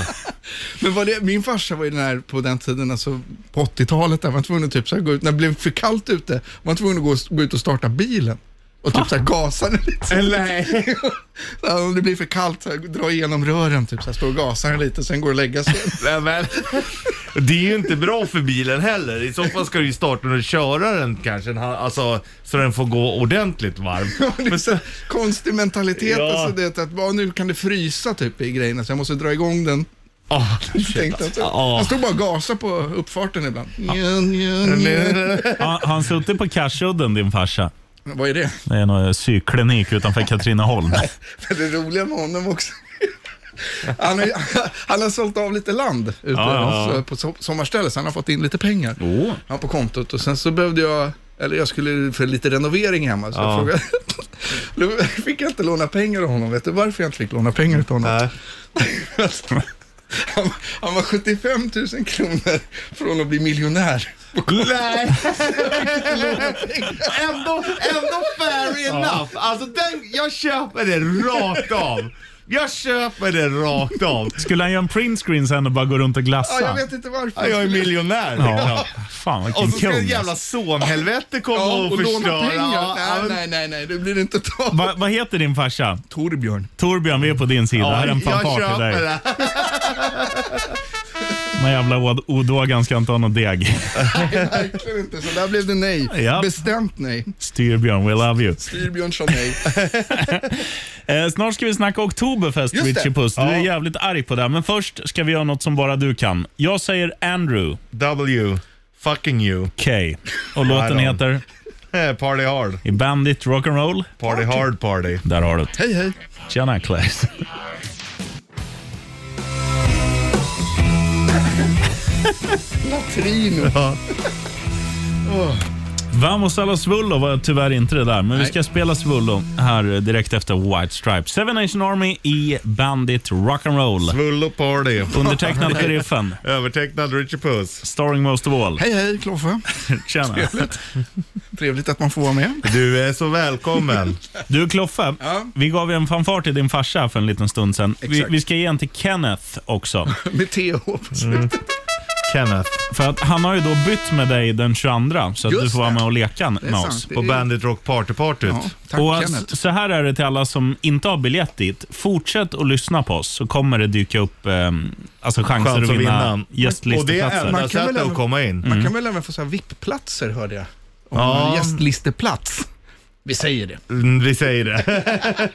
B: Men var det, min farsa var ju den här på den tiden, alltså på 80-talet, där man var tvungen att typ så här, gå ut, när det blev för kallt ute, var man tvungen att gå, gå ut och starta bilen. Och typ såhär gasa den lite.
D: Nej.
B: Så här, Om det blir för kallt, så här, dra igenom rören, typ såhär, stå och gasa den lite, sen går och lägga sig.
D: Nej, men. Det är ju inte bra för bilen heller. I så fall ska du ju starta den och köra den kanske. en hal- Alltså, så den får gå ordentligt varm.
B: Det är så här konstig mentalitet,
D: Ja.
B: alltså det att bara, nu kan det frysa typ i grejerna, så jag måste dra igång den.
D: Ah.
B: Tänkte jag.
D: Ja.
B: Han stod bara och gasade på uppfarten ibland. Njan, njan, njan.
C: Har har han suttit på Karsudden, din farsa?
B: Vad är det?
C: Det är någon psykklinik utanför Katrineholm.
B: Men det roliga med honom också. Han har, han har sålt av lite land ute eh,
C: Ja, ja.
B: på so- sommarställe, så han har fått in lite pengar ja, på kontot. Och sen så behövde jag, eller jag skulle för lite renovering hemma, så jag frågade. Då fick jag inte låna pengar av honom. Vet du varför jag inte fick låna pengar av honom? Han, han var 75 000 kronor från att bli miljonär.
D: Nej. ändå, ändå fair enough. Alltså den, jag köper det rakt av. Jag köper det rakt av.
C: Skulle han göra en printscreen sen och bara gå runt och
B: Ja,
C: glassa?
B: jag vet inte varför.
D: Ja, Jag är miljonär.
C: Ja. Fan,
D: Och
C: vilken
D: så ska ett
C: kung. alltså.
D: jävla sonhelvete komma
B: Ja,
D: och,
B: och låna
D: förstöra.
B: pengar.
D: Ja,
B: Nej,
D: men-
B: nej, nej, nej, det blir inte tal.
C: Va, vad heter din farsa?
B: Torbjörn.
C: Torbjörn, vi är på din sida.
D: Ja,
C: här är en
D: jag
C: fanfar till
D: köper
C: dig.
D: det.
C: Den här jävla od- odågan ska inte ha någon deg.
B: Verkligen inte, så där blev det nej.
C: Ja.
B: Bestämt nej.
C: Styrbjörn, we love you.
B: Styrbjörn sa nej.
C: Eh, snart ska vi snacka Oktoberfest,
B: Just det.
C: Richie Puss. Du är jävligt arg på det, men först ska vi göra något som bara du kan. Jag säger Andrew
D: W. Fucking you.
C: K. Och låten
D: Nej då.
C: heter
D: Eh, Party hard.
C: I Bandit Rock'n'Roll.
D: Party hard party.
C: Där har du det.
B: Hej, hej.
C: Tjena Claes.
B: Latrino.
C: Vamos a la Svullo var tyvärr inte det där, men vi ska spela Svullo här eh, direkt efter White Stripes. Seven Nation Army i Bandit Rock'n'Roll.
D: Svullo party.
C: Undertecknad sheriffen,
D: Övertecknad Richie Puss.
C: starring most of all.
B: Hej, hej, Kloffe.
C: Tjena.
B: Trevligt att man får vara med.
D: Du är så välkommen.
C: Du Kloffe,
B: Ja.
C: vi gav ju en fanfar till din farsa för en liten stund sedan. Vi,
B: Exakt.
C: vi ska ge en till Kenneth också.
B: Mm. Med TH på slutet.
D: Kenneth.
C: För att han har ju då bytt med dig den 22 så att
B: Just
C: du får vara
B: det.
C: med och leka
B: är
C: med
B: sant.
C: oss.
B: Det
D: På
B: är-
D: Bandit Rock Party-partyt.
B: Ja, tack
C: och
B: Kenneth.
C: s- så här är det till alla som inte har biljett dit. Fortsätt att lyssna på oss så kommer det dyka upp eh, alltså chanser
D: Chans
C: att
D: att vinna.
C: vinna
D: Och det är
C: gästlisteplatser.
B: Man
D: enda
B: kan väl
D: sättet
B: även-
D: att komma in.
B: Man kan väl även få så här VIP-platser hörde jag. Om
D: Ja.
B: en gästlisteplats. Vi säger det.
D: Mm, Vi säger det.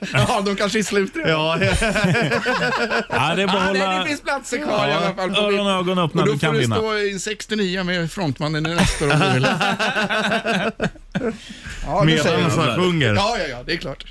B: Ja, de kanske är slut redan.
D: Ja,
C: Ja, det är bara
B: Ah,
C: att
B: nej,
C: hålla
B: det finns platser kvar i alla fall. på
C: öron och
B: VIP.
C: ögon öppna.
B: Och
C: Du
B: då får
C: kan
B: du
C: vinna.
B: stå i 69 med frontmannen i nästa om du vill. Ja, det säger
D: medan
B: jag.
D: han sjunger.
B: Ja, ja, ja, det är klart.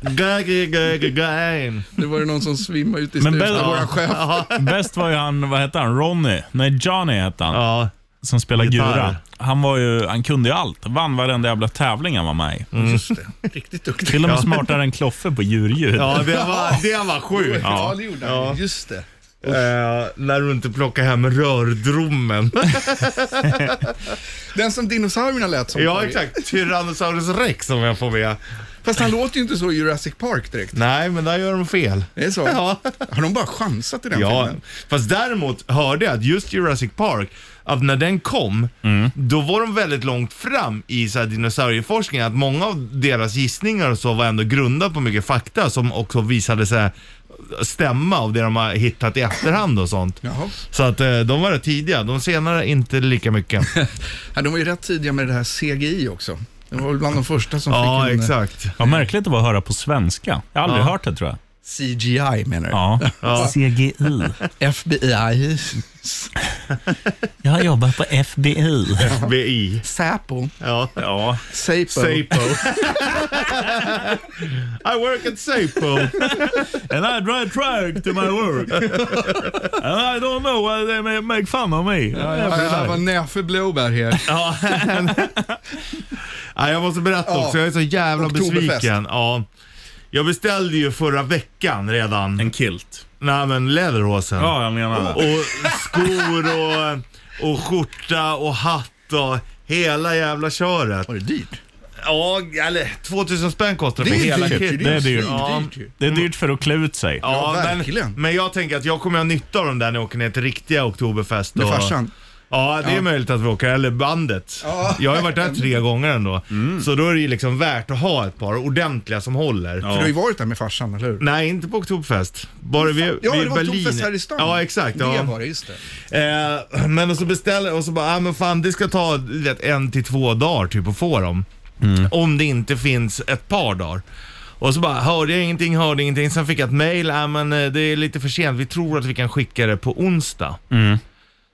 D: Gag, gag, gag, gag.
B: Det var ju någon som svimmade ute i
C: Men
B: studion,
C: Bella-
B: vår chef.
C: Bäst var ju han, vad hette han, Ronny? Nej, Johnny hette han.
D: Ja.
C: Som spelade
D: Gitarr.
C: Gura. Han, var ju, han kunde ju allt. Vann varenda jävla tävling han var med i.
D: Mm.
B: Just det, Mm. riktigt duktig.
C: Till och med smartare än Kloffe på djurljud.
D: Ja, det var, det var sjukt.
B: Ja, det gjorde han. Just det.
D: Eh, när du inte plockar hem rördrommen.
B: Den som dinosaurierna lät som.
D: ja, exakt. Tyrannosaurus rex om jag får med.
B: Fast han låter ju inte så i Jurassic Park direkt.
D: Nej, men där gör de fel.
B: Det är så.
D: Ja.
B: Har de bara chansat i den
D: Ja,
B: filmen?
D: fast däremot hörde jag att just Jurassic Park, att när den kom,
B: Mm.
D: då var de väldigt långt fram i så här dinosaurieforskningen. Att många av deras gissningar och så var ändå grundade på mycket fakta som också visade sig stämma av det de har hittat i efterhand och sånt.
B: Jaha.
D: Så att eh, de var rätt tidiga, de senare inte lika mycket.
B: Ja, de var ju rätt tidiga med det här CGI också. Det var väl bland de första som
D: ja,
B: fick en eh,
D: exakt.
C: Vad märkligt det var att höra på svenska. Jag har aldrig
D: Ja.
C: hört det tror jag.
B: CGI menar du?
C: Ja.
D: Ja.
C: CGI.
B: FBI,
C: Jag har jobbat på FBI.
D: BI.
B: Säpo,
D: Ja.
C: Ja.
B: Säpo.
D: Sapo. I work at Sapo.
C: And I drive truck to my work. And I don't know why they ma- make fun of me.
B: Ja, Det var Näfe Blåbär här.
D: Ja. Nej, jag måste berätta
B: Ja.
D: också, jag är så jävla
B: Oktoberfest.
D: besviken. Ja. Jag beställde ju förra veckan redan,
C: En kilt.
D: nej men läderhosen.
C: Ja, jag menar det.
D: Och skor och, och skjorta och hatt och hela jävla köret.
B: Var det dyrt?
D: Ja, eller 2000 spänn kostar det,
B: Det är
D: för
B: ju
D: hela
B: dyrt,
D: kit.
C: Det är dyrt.
B: Ja. dyrt ju.
C: Det är dyrt för att klä ut sig.
D: Ja,
B: Ja,
D: men,
B: verkligen.
D: men jag tänker att jag kommer ha nytta av dem där när jag åker ner till riktiga Oktoberfest.
B: Med
D: och-
B: farsan?
D: Ja, det är möjligt att vi åker, eller bandet.
B: Ja. Mm.
D: Jag har ju varit där tre gånger ändå. Så då är det ju liksom värt att ha ett par ordentliga som håller.
B: För du har ju varit där med farsan, eller hur?
D: Nej, inte på Oktoberfest. Bara vi,
B: Ja,
D: vi
B: det var Oktoberfest här i stan.
D: Ja, exakt.
B: Det
D: Ja.
B: var det, just det.
D: Eh, men och så beställer och så bara, ah, men fan det ska ta du vet, en till två dagar typ att få dem.
C: Mm.
D: Om det inte finns ett par dagar. Och så bara, hörde jag ingenting, hörde ingenting. Sen fick jag ett mail, ah, men eh, det är lite för sent, vi tror att vi kan skicka det på onsdag.
C: Mm.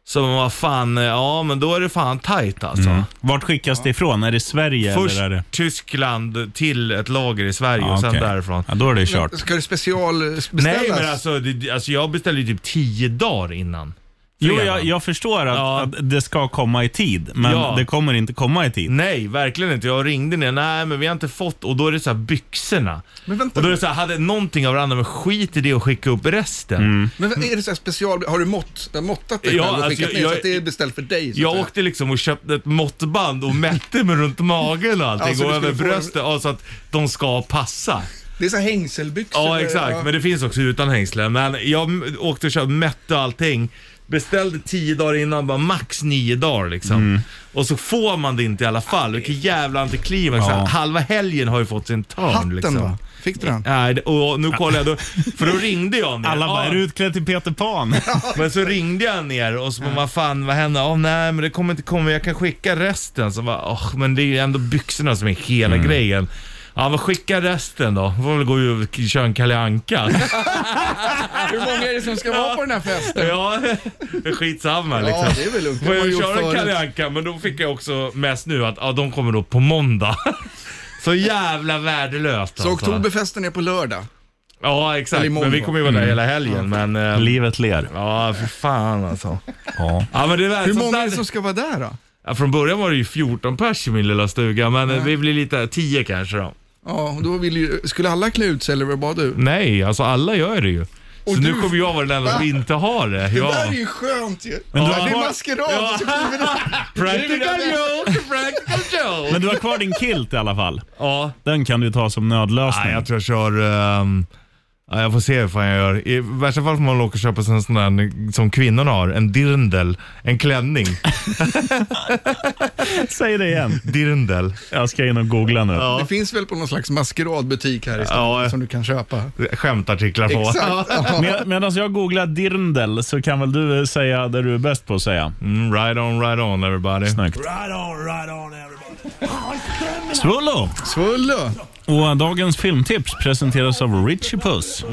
D: Så man bara, fan, eh, ja men då är det fan tajt alltså.
C: Vart skickas det ifrån? Är det Sverige
D: Först
C: eller är det...
D: Tyskland till ett lager i Sverige och sen
C: Ah, okej.
D: därifrån.
C: Ja, då är det kört.
B: Ska det specialbeställas?
D: Nej men alltså, det, alltså jag beställde ju typ tio dagar innan.
C: Jo,
D: Fredagen.
C: jag, jag förstår att,
D: Ja.
C: att det ska komma i tid, men
D: Ja.
C: det kommer inte komma i
B: Typ.
C: tid.
D: Nej, verkligen inte. Jag ringde ner, nej men vi har inte fått, och då är det så här byxorna.
B: Men vänta
D: Och då är det så här, hade någonting av varandra, men skit i det och skicka upp resten.
B: Men vad- är det så här special, har du mått, måttat det
D: Ja,
B: själv och
D: alltså,
B: skickat
D: jag-
B: ner så
D: jag-
B: att det är beställt för dig? Så
D: Jag
B: att
D: åkte liksom och köpte ett måttband och mätte mig runt magen och allting
B: Ja, så
D: och
B: du skulle
D: över
B: få-
D: bröstet, ja, så att de ska passa.
B: säga. Det är så här hängselbyxor.
D: Ja,
B: där,
D: exakt. Men det finns också utan hängslen. Men jag m- åkte och köpte, mätte allting. Beställde tio dagar innan, bara max nio dagar liksom.
B: Mm.
D: Och så får man det inte i alla fall. Vilken jävla antiklimax.
C: Ja.
D: Halva helgen har ju fått sin törn
B: Hatten
D: liksom.
B: då? Fick du den?
D: Nej, det- och nu kollar jag då, för då ringde jag ner.
C: Alla bara,
D: Ja,
C: är du utklädd till Peter Pan?
D: Men så ringde jag ner och så bara, vad fan, vad hände? Åh nej, men det kommer inte komma, jag kan skicka resten. Så bara, åh, men det är ju ändå byxorna som är hela
B: Mm.
D: grejen. Ja, men skicka resten då. Får väl gå och köra en Kalle Anka.
B: Hur många är det som ska vara på den här festen?
D: ja, skitsamma liksom.
B: Ja, det är väl lugnt. Det
D: Får
B: har man
D: jag
B: gjort
D: köra en
B: förut.
D: Kalle Anka, men då fick jag också mest nu att, ja, de kommer då på måndag. så jävla värdelöst alltså.
B: Så oktoberfesten är på lördag.
D: Ja,
B: Eller Mm.
D: exakt.
B: imorgon.
D: Men vi kommer ju vara där hela helgen, men... eh,
C: Livet ler.
D: Ja, för fan alltså.
C: Ja.
D: Ja, men det är
B: Hur
D: så
B: många är
D: där-
B: det som ska vara där då?
D: ja, Från början var det ju 14 pers i min lilla stuga, men eh, vi blir lite 10 kanske då.
B: Ja, och då vill ju, skulle alla klä ut sig eller var det bara du?
D: Nej, alltså alla gör det ju.
B: Och
D: så nu
B: du-
D: kommer jag vara den enda som
B: Va?
D: inte har det.
B: Det
D: Ja.
B: där är ju skönt ju.
C: Men du
B: ja,
C: har
B: det är
C: kvar-
B: maskerad.
D: Ja.
B: Så kliver du-
D: Practical joke, practical joke.
C: Men du har kvar din kilt i alla fall.
D: Ja.
C: Den kan du ta som nödlösning.
D: Nej, jag tror jag kör... ehm, Ja, jag får se hur fan jag gör. I värsta fall får man åka och köpa sig en sån där som kvinnorna har, en dirndl. En klänning.
C: Säg det igen.
D: Dirndl.
C: Jag ska in och googla nu.
B: Det finns väl på någon slags maskeradbutik här i stan
D: Ja.
B: som du kan köpa.
D: Skämtartiklar på.
B: Exakt.
C: Med, Medan jag googlar dirndl så kan väl du eh, säga det du är bäst på att säga.
D: Mm, right on, right on everybody.
C: Snyggt. Svullo!
B: Svullo.
C: Och eh, dagens filmtips presenteras av Richie Puss.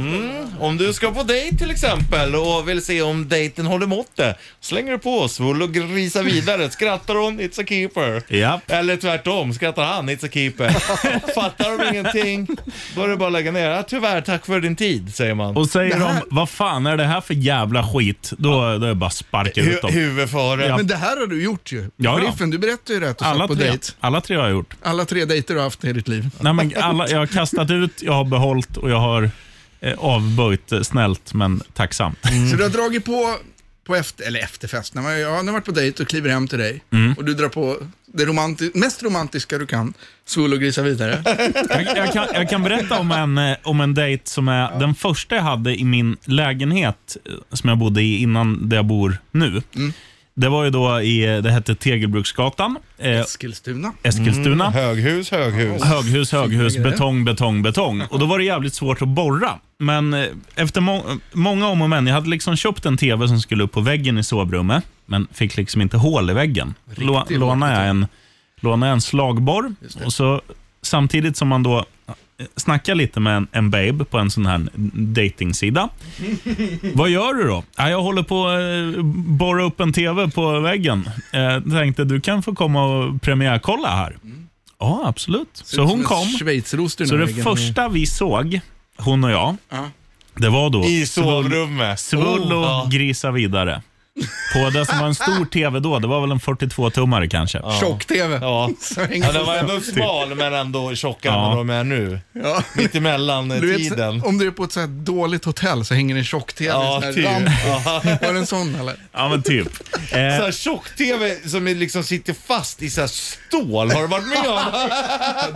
D: Om du ska på dejt till exempel och vill se om dejten håller måttet, slänger du på svull och grisar vidare. Skrattar hon, it's a keeper.
C: Japp.
D: Eller tvärtom, skrattar han, it's a keeper. Fattar de ingenting, då är det bara att lägga ner. Ja, tyvärr, tack för din tid, säger man.
C: Och säger de, vad fan är det här för jävla skit? Då, då är det bara att sparka ut
D: Hu
C: dem.
D: huvud före.
C: Ja.
B: Men det här har du gjort ju.
C: ja.
B: Sheriffen, du berättade ju rätt. Du
C: Alla
B: satt på
C: tre,
B: dejt.
C: alla tre har jag gjort.
B: Alla tre dejter du har haft i ditt liv.
C: Nej, men alla, jag har kastat ut, jag har behållit och jag har eh, avböjt eh, snällt men tacksamt.
D: Mm.
B: Så du har dragit på, på efter, eller efterfest, när man, ja, när man har varit på dejt och kliver hem till dig
D: Mm.
B: och du drar på det romanti- mest romantiska du kan, svull och grisa vidare.
C: Jag, jag, kan, jag kan berätta om en, eh, om en dejt som är den första jag hade i min lägenhet eh, som jag bodde i innan där jag bor nu. Det var ju då i, eh, det hette Tegelbruksgatan, eh,
B: Eskilstuna.
C: Eskilstuna.
D: Höghus, höghus.
C: Höghus, höghus,
B: grejer.
C: betong, betong, betong. Och då var det jävligt svårt att borra. Men eh, efter må många om och men, jag hade liksom köpt en TV som skulle upp på väggen i sovrummet, men fick liksom inte hål i väggen. Lå
B: Riktig
C: lånade jag
B: vårdbetong.
C: en, lånade jag en slagborr och så samtidigt som man då eh, snackar lite med en, en babe på en sån här datingsida. Vad gör du då? Ja, jag håller på att eh, borra upp en TV på väggen. Eh, tänkte du kan få komma och premiärkolla här. Ja, absolut. Så hon kom.
B: Schweizerost i den
C: Så
B: här
C: det
B: väggen.
C: första vi såg, hon och jag, det var då
D: I sovrummet.
C: Svullo
D: Oh, ja.
C: grisa vidare. På det som var en stor TV då, det var väl en 42-tummare kanske.
B: Tjock-tv.
D: Ja.
B: Så hänger
D: ja, den var ändå smal men ändå tjockare
C: Ja.
D: än vad de är nu.
B: Ja.
D: Mittemellan eh,
B: Du vet,
D: tiden.
B: så- om du är på ett så här dåligt hotell så hänger det en tjock-tv.
D: Ja,
B: i en sån
D: typ.
B: här ramp.
D: Ja.
B: Var det en sån eller?
C: Ja, men typ. Eh,
D: Såhär tjock-tv som är liksom sitter fast i såhär stål, har du varit med om?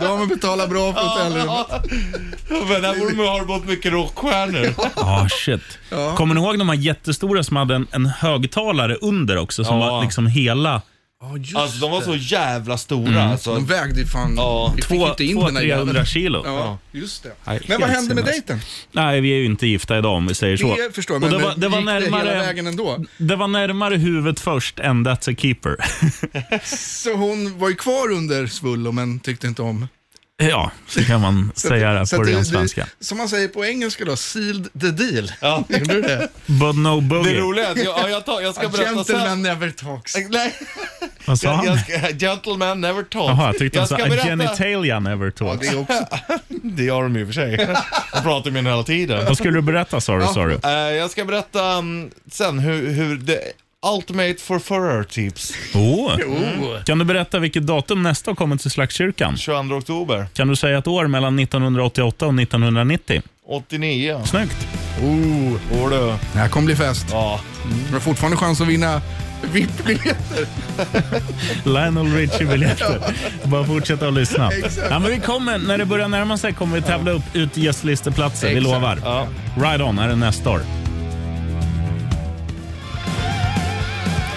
B: Då har man betalat bra för hotellrummet.
D: Men där borde man ha bort mycket rockstjärnor.
C: ah, shit. Kommer ni ihåg de här jättestora som hade en, en högtalare under också, som
D: Ja.
C: var liksom hela...
B: Ja, just
D: Alltså de var så jävla stora
C: Mm.
D: alltså.
B: De vägde ju fan...
D: Ja,
B: vi fick ju inte in den där jäveln.
C: 200-300 kilo.
B: Ja, just det.
C: Nej,
B: Men vad
C: helt
B: hände med
C: sinnes.
B: dejten?
C: Nej, vi är ju inte gifta idag om vi säger så.
B: Det förstår jag,
C: Och
B: men
C: det var, det var
B: gick det hela
C: närmare...
B: vägen ändå?
C: Det var närmare huvudet först än That's a keeper.
B: Så hon var ju kvar under Svullo men tyckte inte om.
C: ja, så kan man säga det
B: Så
C: här på
B: att
C: ren
B: det-
C: svenska.
B: det- Som man säger på engelska då, sealed the deal.
D: Ja.
B: Gjorde du det?
C: But no
D: Det
C: boogie.
D: roliga är att jag, ja, jag, tar, jag ska
B: A
D: berätta sen.
B: gentleman never talks.
D: Nej,
C: Vad sa
D: jag, jag
C: han?
D: ska, gentleman never talks.
C: Jaha, jag tyckte han
D: jag
C: sa
D: ska
C: a
D: berätta.
C: genitalia never
B: Ja,
C: talks.
B: det är också.
D: Det gör de i och för sig. De pratar med en hela tiden.
C: Vad skulle du berätta sa du? Sa du?
D: Eh, jag ska berätta mm, sen hur, hur the ultimate for tips.
C: Oh. Kan du berätta vilket datum nästa kommer till Slagskyrkan?
D: 22 oktober
C: Kan du säga ett år mellan 1988 och 1990?
D: 89.
C: Snyggt.
B: Oh,
D: Går du?
B: det här kommer bli fest.
D: Ja.
B: Du har fortfarande chans att vinna VIP-biljetter.
C: Lionel Richie-biljetter. Bara fortsätta att lyssna. Ja, men vi kommer, när det börjar närma sig kommer vi tävla upp ut gästlisteplatser, vi
B: Exakt.
C: lovar.
D: Ja.
C: Ride On är det nästa år.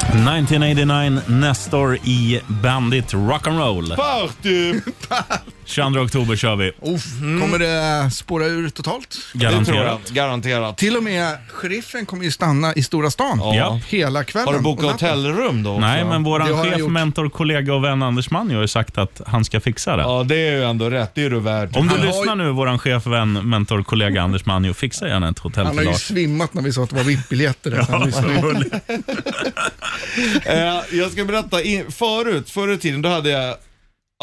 C: 1989, nästa år i Bandit Rock'n'Roll.
D: Party!
C: 22 oktober kör vi.
B: Uff,
C: mm.
B: Kommer det spåra ur totalt?
D: Det tror jag.
C: Garanterat.
D: Garanterat.
B: Till och med sheriffen kommer ju stanna i Stora stan
C: Ja.
B: hela kvällen.
D: Har du bokat
B: och natten.
D: hotellrum då också?
C: Nej, men
B: Det
C: vår
B: har jag
C: chef,
B: gjort.
C: mentor, kollega och vän Anders Manjo har ju sagt att han ska fixa det.
D: Ja, det är ju ändå rätt. Det är du värd.
C: Om du
B: Han har
C: lyssnar nu, vår chef, vän, mentor, kollega Anders Manjo, fixa gärna ett hotell
B: Han har
C: till
B: ju
C: Lars.
B: svimmat när vi sa att det var VIP-biljetter. där, så han lyssnade.
D: Eh, jag ska berätta, i- förut, förr i tiden då hade jag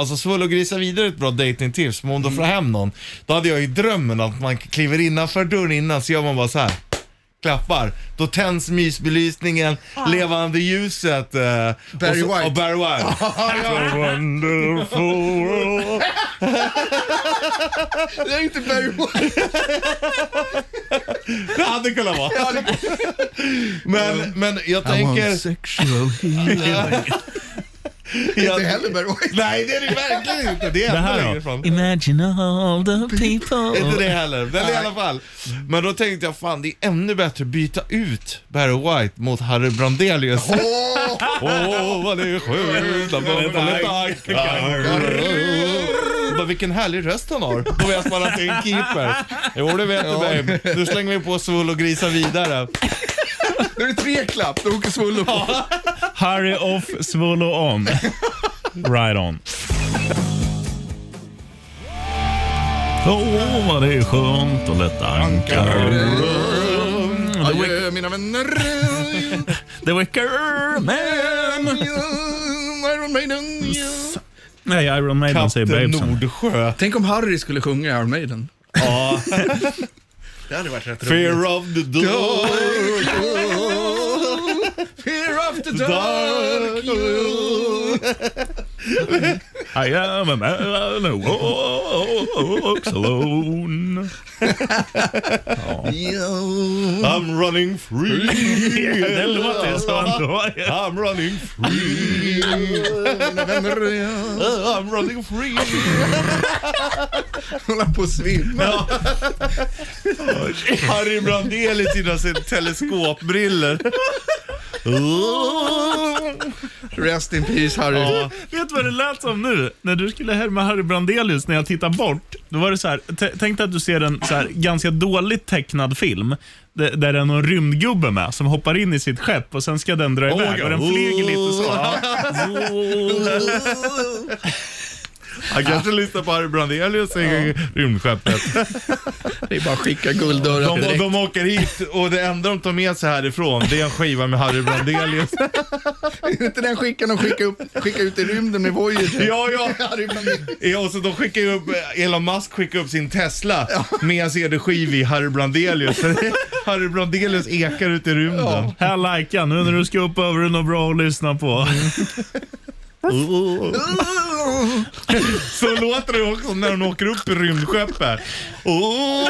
D: Alltså svull och grisa vidare ett bra datingtips, men om
B: Mm.
D: du får hem någon, då hade jag i drömmen att man kliver innanför dörren innan så gör man bara så här. klappar. Då tänds mysbelysningen, levande ljuset. Eh,
B: Ah. Barry
D: och så,
B: White.
D: Och Barry White. So wonderful.
B: Det är inte Barry White.
D: Det hade kunnat vara. men, men jag tänker...
B: sexual healing. Inte heller Barry White.
D: Nej, det är det verkligen inte. Det är
C: Det
D: ännu
C: här
D: längre
C: då?
D: ifrån.
C: Imagine all the
D: Inte
C: people.
D: det heller, men i alla fall. Men då tänkte jag fan det är ännu bättre att byta ut Barry White mot Harry Brandelius. Åh, vad det är skönt att bubbla tankar. Vad Vilken härlig röst han har. Då vet man att det är en keeper. Jo, det vet du babe. Nu slänger vi på svull och grisar vidare.
B: Nu är det tre klapp, då åker Svullo på.
C: Harry off, Svullo on. Right on. Åh, vad det är skönt att lätta ankar.
B: Adjö mina vänner.
C: The Wicker Man.
B: Iron Maiden.
C: Nej, Iron Maiden säger
D: Kapten
C: Babesen.
D: Nordsjö.
B: Tänk om Harry skulle sjunga i Iron Maiden. Ja. Det hade varit rätt roligt.
D: Fear of the door.
B: Fear of the dark.
C: I am a man who walks alone.
D: I'm running free.
C: Det låter som då.
D: I'm running free.
B: Mina vänner. jag
D: I'm running free.
B: Håller på att svimma.
D: Harry Brandel i sina sin- teleskopbriller.
B: Rest in peace Harry.
C: Vet du vad det lät som nu? När du skulle härma Harry Brandelius när jag tittar bort. Då var det så här, t- tänk dig att du ser en så här, ganska dåligt tecknad film. d- Där det är någon rymdgubbe med som hoppar in i sitt skepp och sen ska den dra iväg och den flyger lite så.
D: Han kanske lyssnar på Harry Brandelius i rymdskeppet.
B: Det är bara att skicka gulddörrar
D: De,
B: direkt.
D: de åker hit och det enda de tar med sig härifrån det är en skiva med Harry Brandelius.
B: inte den skickar de skickar, upp, skickar ut i rymden med Voyager.
D: Ja, ja.
B: Harry Brandelius.
D: Ja, och så de skickar ju upp, Elon Musk skickar upp sin Tesla med en CD-skiv i Harry Brandelius. Harry Brandelius ekar ut i rymden.
C: Här likea nu när du ska upp över det något bra att lyssna på.
D: Så låter det också när de åker upp i rymdskeppet. Åh!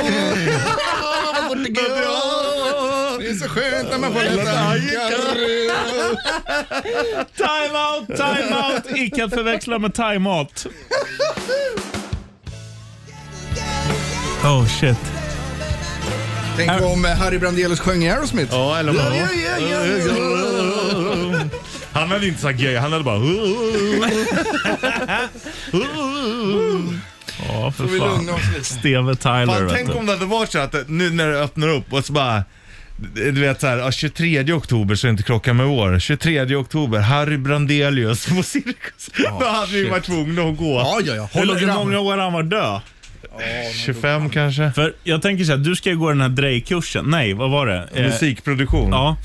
B: Det är så skönt när man får läsa ankar.
C: Time out, time out! Icke att förväxla med time out. Oh shit.
B: Tänk om eh, Harry Brandelius sjöng i Aerosmith.
D: Ja, eller
B: Ja,
D: vad?
B: ja, ja, ja.
D: Han hade inte sagt gay, han hade bara... "Uh, uh,
C: Ja, för
B: Får vi
C: fan.
B: lugna oss lite?
C: Steve Tyler
D: Fan,
C: vet
D: tänk
C: du.
D: om det hade varit så att nu när det öppnar upp och så bara... Du vet såhär, ja, 23 oktober så är det inte klockan med år. 23 oktober, Harry Brandelius på Cirkus. Då hade vi varit tvungna att gå.
B: Ja, ja, ja.
C: Hur hur
B: Hologram.
C: många år han var död?
D: 25 kanske.
C: För jag tänker så här, du ska ju gå den här Drej-kursen. Nej, vad var det? Eh,
D: Musikproduktion.
C: Ja.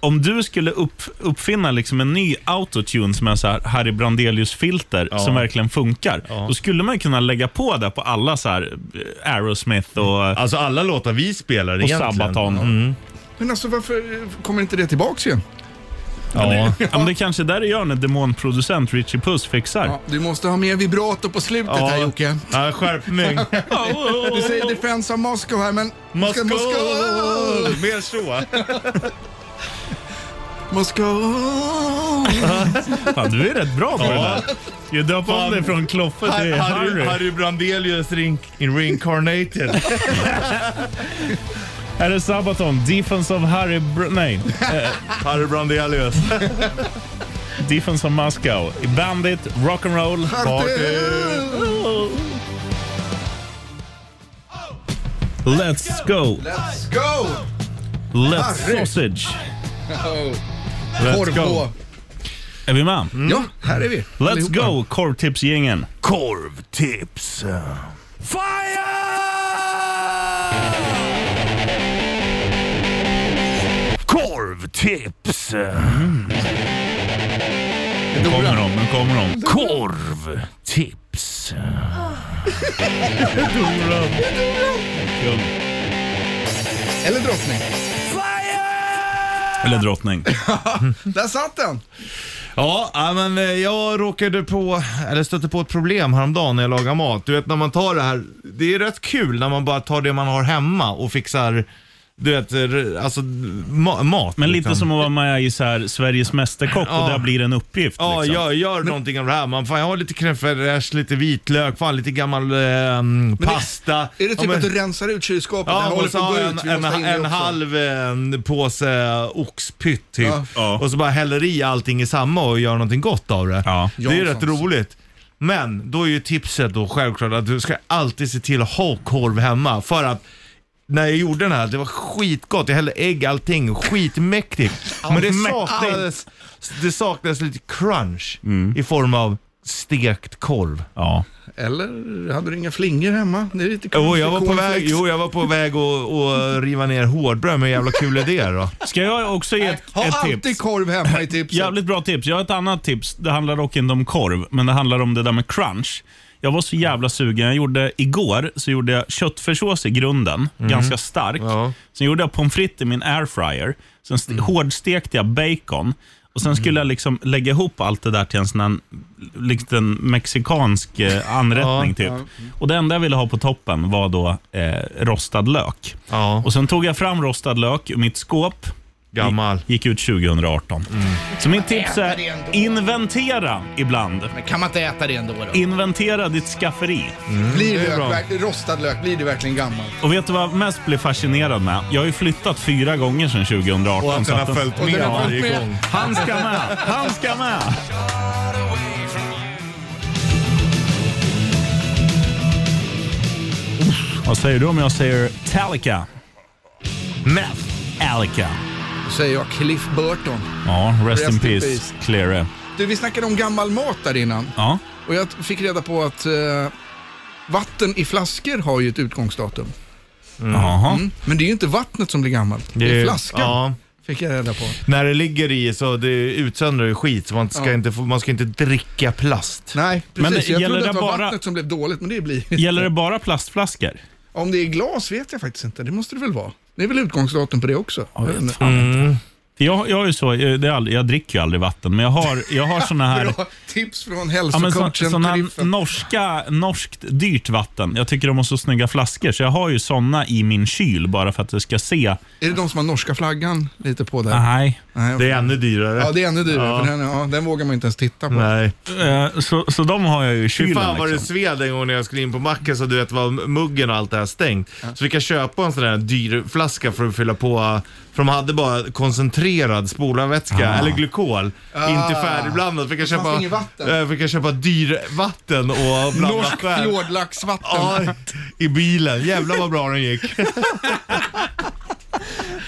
C: Om du skulle upp, uppfinna liksom en ny autotune som är så här Harry Brandelius-filter som verkligen funkar, då skulle man ju kunna lägga på det på alla så här eh, Aerosmith och,
D: Alltså alla låtar vi spelar
C: och
D: egentligen. Mm.
C: Sabaton.
B: Men alltså varför eh, kommer inte det tillbaks igen?
D: Ja.
C: Ja, men det är kanske där det gör när demonproducent Richie Puss fixar.
B: Ja, du måste ha mer vibrato på slutet
D: Ja.
B: här Jocke.
D: Ja, skärpning.
B: Du säger Defense of Moscow här men...
D: Moskva!
B: Moskva!
D: Mer så.
B: Moskva!
C: Fan, du är rätt bra på det där. Jag döpa om
D: Fan.
C: dig från Kloffe till
D: Harry,
C: Harry.
D: Harry Brandelius ring, reincarnated.
C: Är det Sabaton? Defense of Harry... Br- nej.
D: Harry Brandelius.
C: Defense of Moscow. Bandit, rock'n'roll. Let's go.
B: Let's go!
C: Let's
B: Harry.
C: sausage.
B: Korv på.
C: Är vi med?
D: Mm,
B: Ja, här är vi.
C: Let's go, korvtipsgängen.
A: Korvtips. Fire! Korvtips.
C: Nu kommer de, nu kommer de.
A: Korvtips.
C: Kung
B: Eller drottning.
C: Eller drottning.
B: Där satt den!
D: Ja, ja, men eh, jag råkade på, eller stötte på ett problem häromdagen när jag lagade mat. Du vet när man tar det här, det är rätt kul när man bara tar det man har hemma och fixar du vet, r- alltså ma- mat.
C: Men lite
D: liksom.
C: som att vara med i så här, Sveriges Mästerkock och
D: Ja.
C: där blir det en uppgift.
D: Ja,
C: liksom.
D: jag gör någonting av det här. Man, fan, jag har lite crème fraîche, lite vitlök, fan, lite gammal ehm, pasta.
B: Är det typ
D: ja, men-
B: att du rensar ut kylskåpet? Det här
D: Ja,
B: håller
D: och så
B: på att
D: har
B: gå
D: jag
B: ut, vi
D: en,
B: måste
D: en,
B: in i
D: en
B: också.
D: halv eh, påse oxpytt typ.
B: Ja.
C: Ja.
D: Och så bara häller i allting i samma och gör någonting gott av det.
C: Ja.
D: Det är ju rätt
B: Janssons.
D: roligt. Men då är ju tipset då självklart att du ska alltid se till att ha korv hemma. För att när jag gjorde den här, det var skitgott. Jag hällde ägg, allting. Skitmäktigt. Men det saknades, det saknades lite crunch
B: Mm.
D: i form av stekt korv.
C: Ja.
B: Eller hade du inga flingor hemma? Det är lite
D: Jo,
B: konstigt.
D: jag var på väg,
B: Cornflakes.
D: jo, jag var på väg att att riva ner hårdbröd med jävla kul idéer då.
C: Ska jag också ge ett,
B: Ha
C: ett
B: alltid
C: tips?
B: korv hemma i tipset.
C: Jävligt bra tips. Jag har ett annat tips. Det handlar dock inte om korv, men det handlar om det där med crunch. Jag var så jävla sugen. Jag gjorde igår så gjorde jag köttfärssås i grunden, ganska stark.
D: Mm. Ja. Mm.
C: Sen gjorde jag pommes frites i min airfryer. Sen st- hårdstekte jag bacon. Och Sen skulle jag liksom lägga ihop allt det där till en sån här liten mexikansk eh, anrättning. typ. Och Det enda jag ville ha på toppen var då eh, rostad lök.
D: Ja,
C: Och Sen tog jag fram rostad lök ur mitt skåp.
D: gammal.
C: Gick ut 2018.
I: Mm.
C: Så mitt tips är inventera ibland.
I: Kan man inte äta det ändå då?
C: Inventera ditt skafferi.
B: Blir
D: det är
B: lök,
D: bra.
B: verkligen- rostad lök, blir det verkligen gammal?
C: Och vet du vad jag mest blev fascinerad med? Jag har ju flyttat fyra gånger sedan 2018.
D: Och att
C: så
D: den
C: att
D: har
C: den-
D: följt
B: Och
D: med
B: den har följt
D: varje
B: med.
D: gång.
C: Han ska med! Han ska med! Uff, Vad säger du om jag säger Talica? Meth Alica.
B: Då säger jag Cliff Burton.
C: Ja, rest, in peace, Cleary.
B: Du, vi snackade om gammal mat där innan.
C: Ja.
B: Och jag fick reda på att eh, vatten i flaskor har ju ett utgångsdatum.
C: Jaha.
B: Men det är ju inte vattnet som blir gammalt, det, är flaskan.
D: Ja.
B: Fick jag reda på.
D: När det ligger i så det utsöndrar ju skit så man ska,
B: Ja.
D: inte, få- man ska inte dricka plast.
B: Nej,
C: Men
B: precis. jag
C: gäller
B: trodde att
C: det
B: det var
C: bara-
B: vattnet som blev dåligt, men det blir
C: Gäller det bara plastflaskor?
B: Om det är glas vet jag faktiskt inte. Det måste det väl vara? Det är väl utgångsdatum på det också? Jag vet inte.
D: Mm.
C: För Jag, jag, är ju så, jag- det är aldrig, jag dricker ju aldrig vatten, men jag har, jag har såna här...
B: Bra tips från
C: Ja, men så,
B: hälsocoachen
C: sån här
B: Triffen.
C: norska, norskt dyrt vatten. Jag tycker de har så snygga flaskor, så jag har ju såna i min kyl bara för att jag ska se.
B: Är det de som har norska flaggan lite på där?
C: Nej.
B: Nej, okej.
D: Det är ännu dyrare.
B: Ja, det är ännu dyrare.
D: Ja.
B: För den, ja, den vågar man inte ens titta på.
D: Nej.
C: Eh, Så, så de har jag ju i
D: Fy
C: kylen.
D: fan vad det
C: liksom.
D: sved en gång när jag skulle in på macken så du vet var muggen och allt det här stängt. Så vi kan köpa en sån där dyr flaska för att fylla på. eh, För de hade bara koncentrerad spolarvätska, eller glykol. Inte färdigblandat. Vi kan
B: Ah. fanns
D: köpa,
B: inget vatten.
D: eh, vi kan köpa dyr vatten och blanda
B: Norsk
D: själv.
B: fjordlaxvatten.
D: Ja, i bilen. Jävlar vad bra den gick.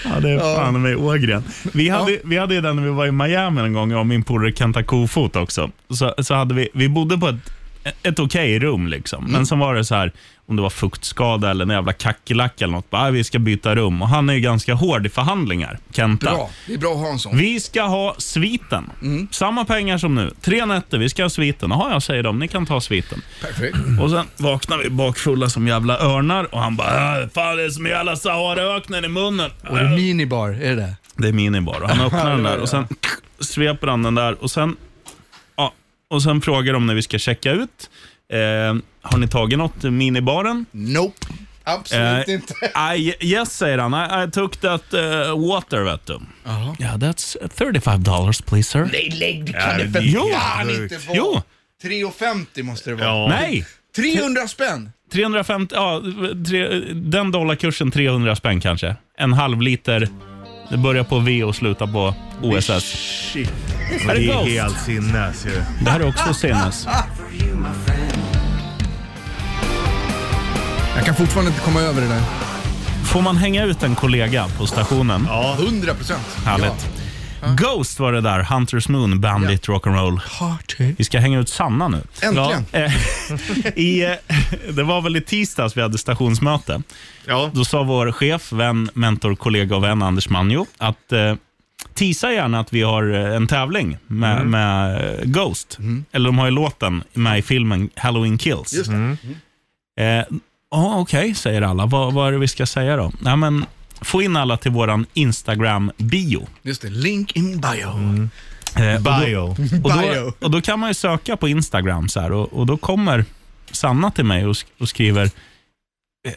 C: Ja, det är fan mig Ågren. Vi hade, vi hade ju den när vi var i Miami en gång, jag och min polare Kenta Kofot också. Så, så hade vi, vi bodde på ett, ett okej rum, liksom. men sen var det så här, om det var fuktskada eller en jävla kackerlacka eller något, bara, "Ah, vi ska byta rum. Och han är ju ganska hård i förhandlingar, Kenta.
B: Bra, det är bra att ha en sån.
C: Vi ska ha sviten. Samma pengar som nu. Tre nätter, vi ska ha sviten. Jaha, jag säger dem. Ni kan ta sviten.
B: Perfekt.
C: Och sen vaknar vi bakfulla som jävla örnar och han bara äh, “Fan, det är som jävla Saharaöknen i munnen”.
B: Och det är minibar, är det det?
C: Det är minibar och han öppnar den där och sen sveper han den där och sen, ja, och sen frågar de när vi ska checka ut. Eh, har ni tagit något i minibaren?
B: Nope. Absolut
C: Eh,
B: inte.
C: I, yes, säger han. I, I took that eh, water, vet du. Yeah, that's 35 dollars please sir.
B: Nej, lägg det kan det för
C: jo.
B: fan inte vara.
C: Jo.
B: 3,50 måste det vara.
C: Nej!
B: 300 spänn!
C: 350, ja, tre, den dollarkursen 300 spänn kanske. En halv liter. Det börjar på V och slutar på OSS.
D: Shit.
C: Här är
D: Det är
C: Ghost.
D: helt sinnes ju.
C: Det här är också senast.
B: Jag kan fortfarande inte komma över det där.
C: Får man hänga ut en kollega på stationen?
B: 100 procent.
C: Härligt. Ghost var det där, Hunters Moon, Bandit Rock'n'Roll.
B: Party.
C: Vi ska hänga ut Sanna nu.
B: Äntligen.
C: Eh, I, eh, det var väl i tisdags vi hade stationsmöte.
D: Ja.
C: Då sa vår chef, vän, mentor, kollega och vän Anders Manjo att eh, tisa gärna att vi har eh, en tävling med,
B: Mm.
C: med eh, Ghost. Eller de har ju låten med i filmen Halloween Kills.
B: Just det.
C: Eh, ah, Okej, säger alla. Vad, vad är det vi ska säga då? Nej, men, få in alla till vår Instagram-bio.
B: Just det, link in bio.
C: Eh, och då-
D: Bio.
C: Och då,
B: Bio.
C: och då kan man ju söka på Instagram så här, och, och då kommer Sanna till mig och, sk- och skriver eh,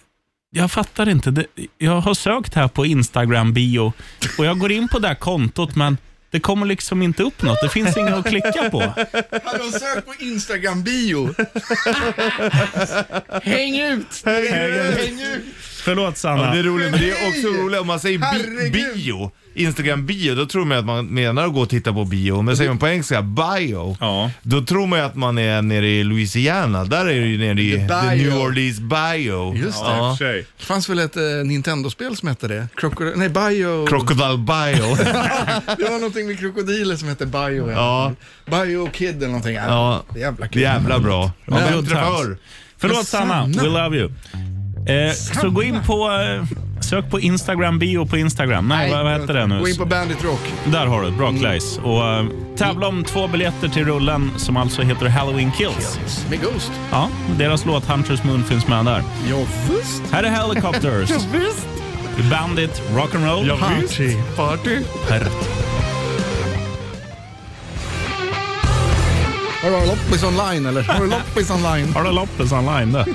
C: jag fattar inte. Det, jag har sökt här på Instagram-bio och jag går in på det här kontot, men det kommer liksom inte upp något. Det finns inget att klicka på.
B: Har de sökt på Instagram-bio? Häng ut! Häng ut!
C: Förlåt
D: Ja,
C: Sanna.
D: det är roligt, men det är också
B: Nej!
D: roligt om man säger bi-
B: Herregud!
D: bio, Instagram-bio, då tror man att man menar att gå och titta på bio. Men säger man på engelska bio,
C: Ja.
D: då tror man ju att man är nere i Louisiana. Där är det ju nere i
B: The
D: the
B: bio.
D: New Orleans bio.
B: Just det.
D: Ja.
B: Det fanns väl ett eh, Nintendo-spel som hette det? Kroko- nej, Bio...
D: Crocodile bio.
B: det var någonting med krokodiler som hette Bio.
D: Ja.
B: Bio Kid eller någonting.
D: Ja.
B: Det är jävla kul.
D: Jävla bra. Ja,
C: good
D: bättre
C: times.
D: förr.
C: Förlåt
B: Men
C: Sanna,
B: Sanna.
C: we love you. Eh, så gå in på, eh, sök på Instagram bio på Instagram. Nej, vad, vad hette det nu?
B: Gå in på Bandit Rock.
C: Där har du det, bra Claes. Och eh, tävla om två biljetter till rullen som alltså heter Halloween Kills.
B: Med Ghost.
C: Ja, deras låt Hunters Moon finns med där.
B: Ja, först.
C: Här är Helicopters. Bandit, rock'n'roll.
G: Party.
D: Party.
B: Har du loppis online eller? Har du loppis online?
C: Har du loppis online där?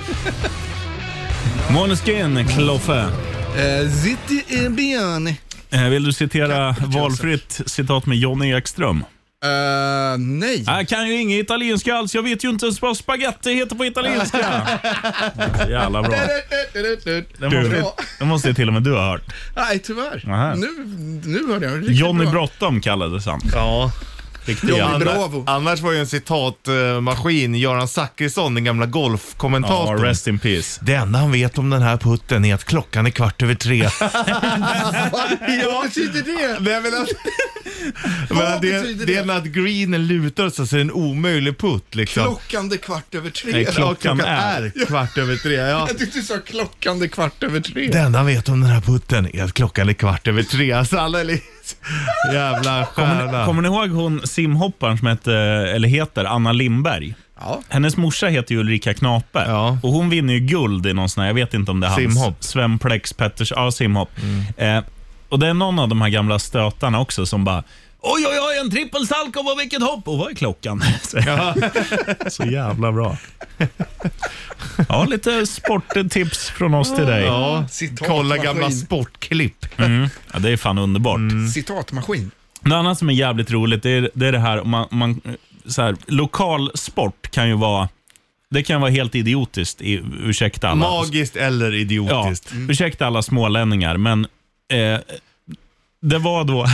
C: Måneskin, Kloffe.
B: Eh, City i björn.
C: Eh, Vill du citera valfritt citat med Johnny Ekström?
B: Eh, nej.
C: Jag kan ju inget italienska alls. Jag vet ju inte ens vad spaghetti heter på italienska. Jävla bra. Den måste, den måste till och med du ha hört.
B: Nej, tyvärr.
C: Aha.
B: Nu, nu hörde jag. Riktigt
C: Johnny
B: bra.
C: Bråttom kallades han.
D: Ja.
C: Riktigt
B: Johnny
C: jävla-
B: Bravo.
D: Annars var ju en citatmaskin Göran Zachrisson, den gamla
C: Ja,
D: golfkommentatorn.
C: rest in peace.
D: det enda han vet om den här putten är att klockan är kvart över tre.
B: Vad betyder det?
D: Nej, men alltså,
B: Vad
D: men det,
B: betyder
D: det
B: det?
D: är när att greenen lutar sig så är det en omöjlig putt liksom.
B: Klockan det kvart över
C: Nej,
B: tre.
D: Ja,
C: klockan är.
D: är. kvart över tre. Ja.
B: Jag tyckte du sa klockan det kvart över tre.
D: Det enda han vet om den här putten är att klockan är kvart över tre. Alltså alla är li- Jävla
C: Kommer ni,
D: stjärna.
C: kommer ni ihåg hon simhopparen som hette, eller heter Anna Lindberg?
B: Ja.
C: Hennes morsa heter ju Ulrika Knape
D: Ja.
C: och hon vinner ju guld i någon sån här, jag vet inte om det är hans.
D: Simhopp.
C: Sven Plex Petters, ja simhopp. Eh, och det är någon av de här gamla stötarna också som bara Oj, oj, oj, en trippelsalko och vilket hopp! Och vad är klockan? Så, så jävla bra. Ja, lite sporttips från oss till dig. Ja,
D: Ja, kolla gamla sportklipp.
C: det är fan underbart.
B: Citatmaskin.
C: Något annat som är jävligt roligt det är det, är det här om man, om man så här, lokal sport kan ju vara det kan vara helt idiotiskt, i, ursäkta alla.
D: Magiskt eller
C: ja,
D: idiotiskt.
C: ursäkta alla smålänningar, men eh, det var då,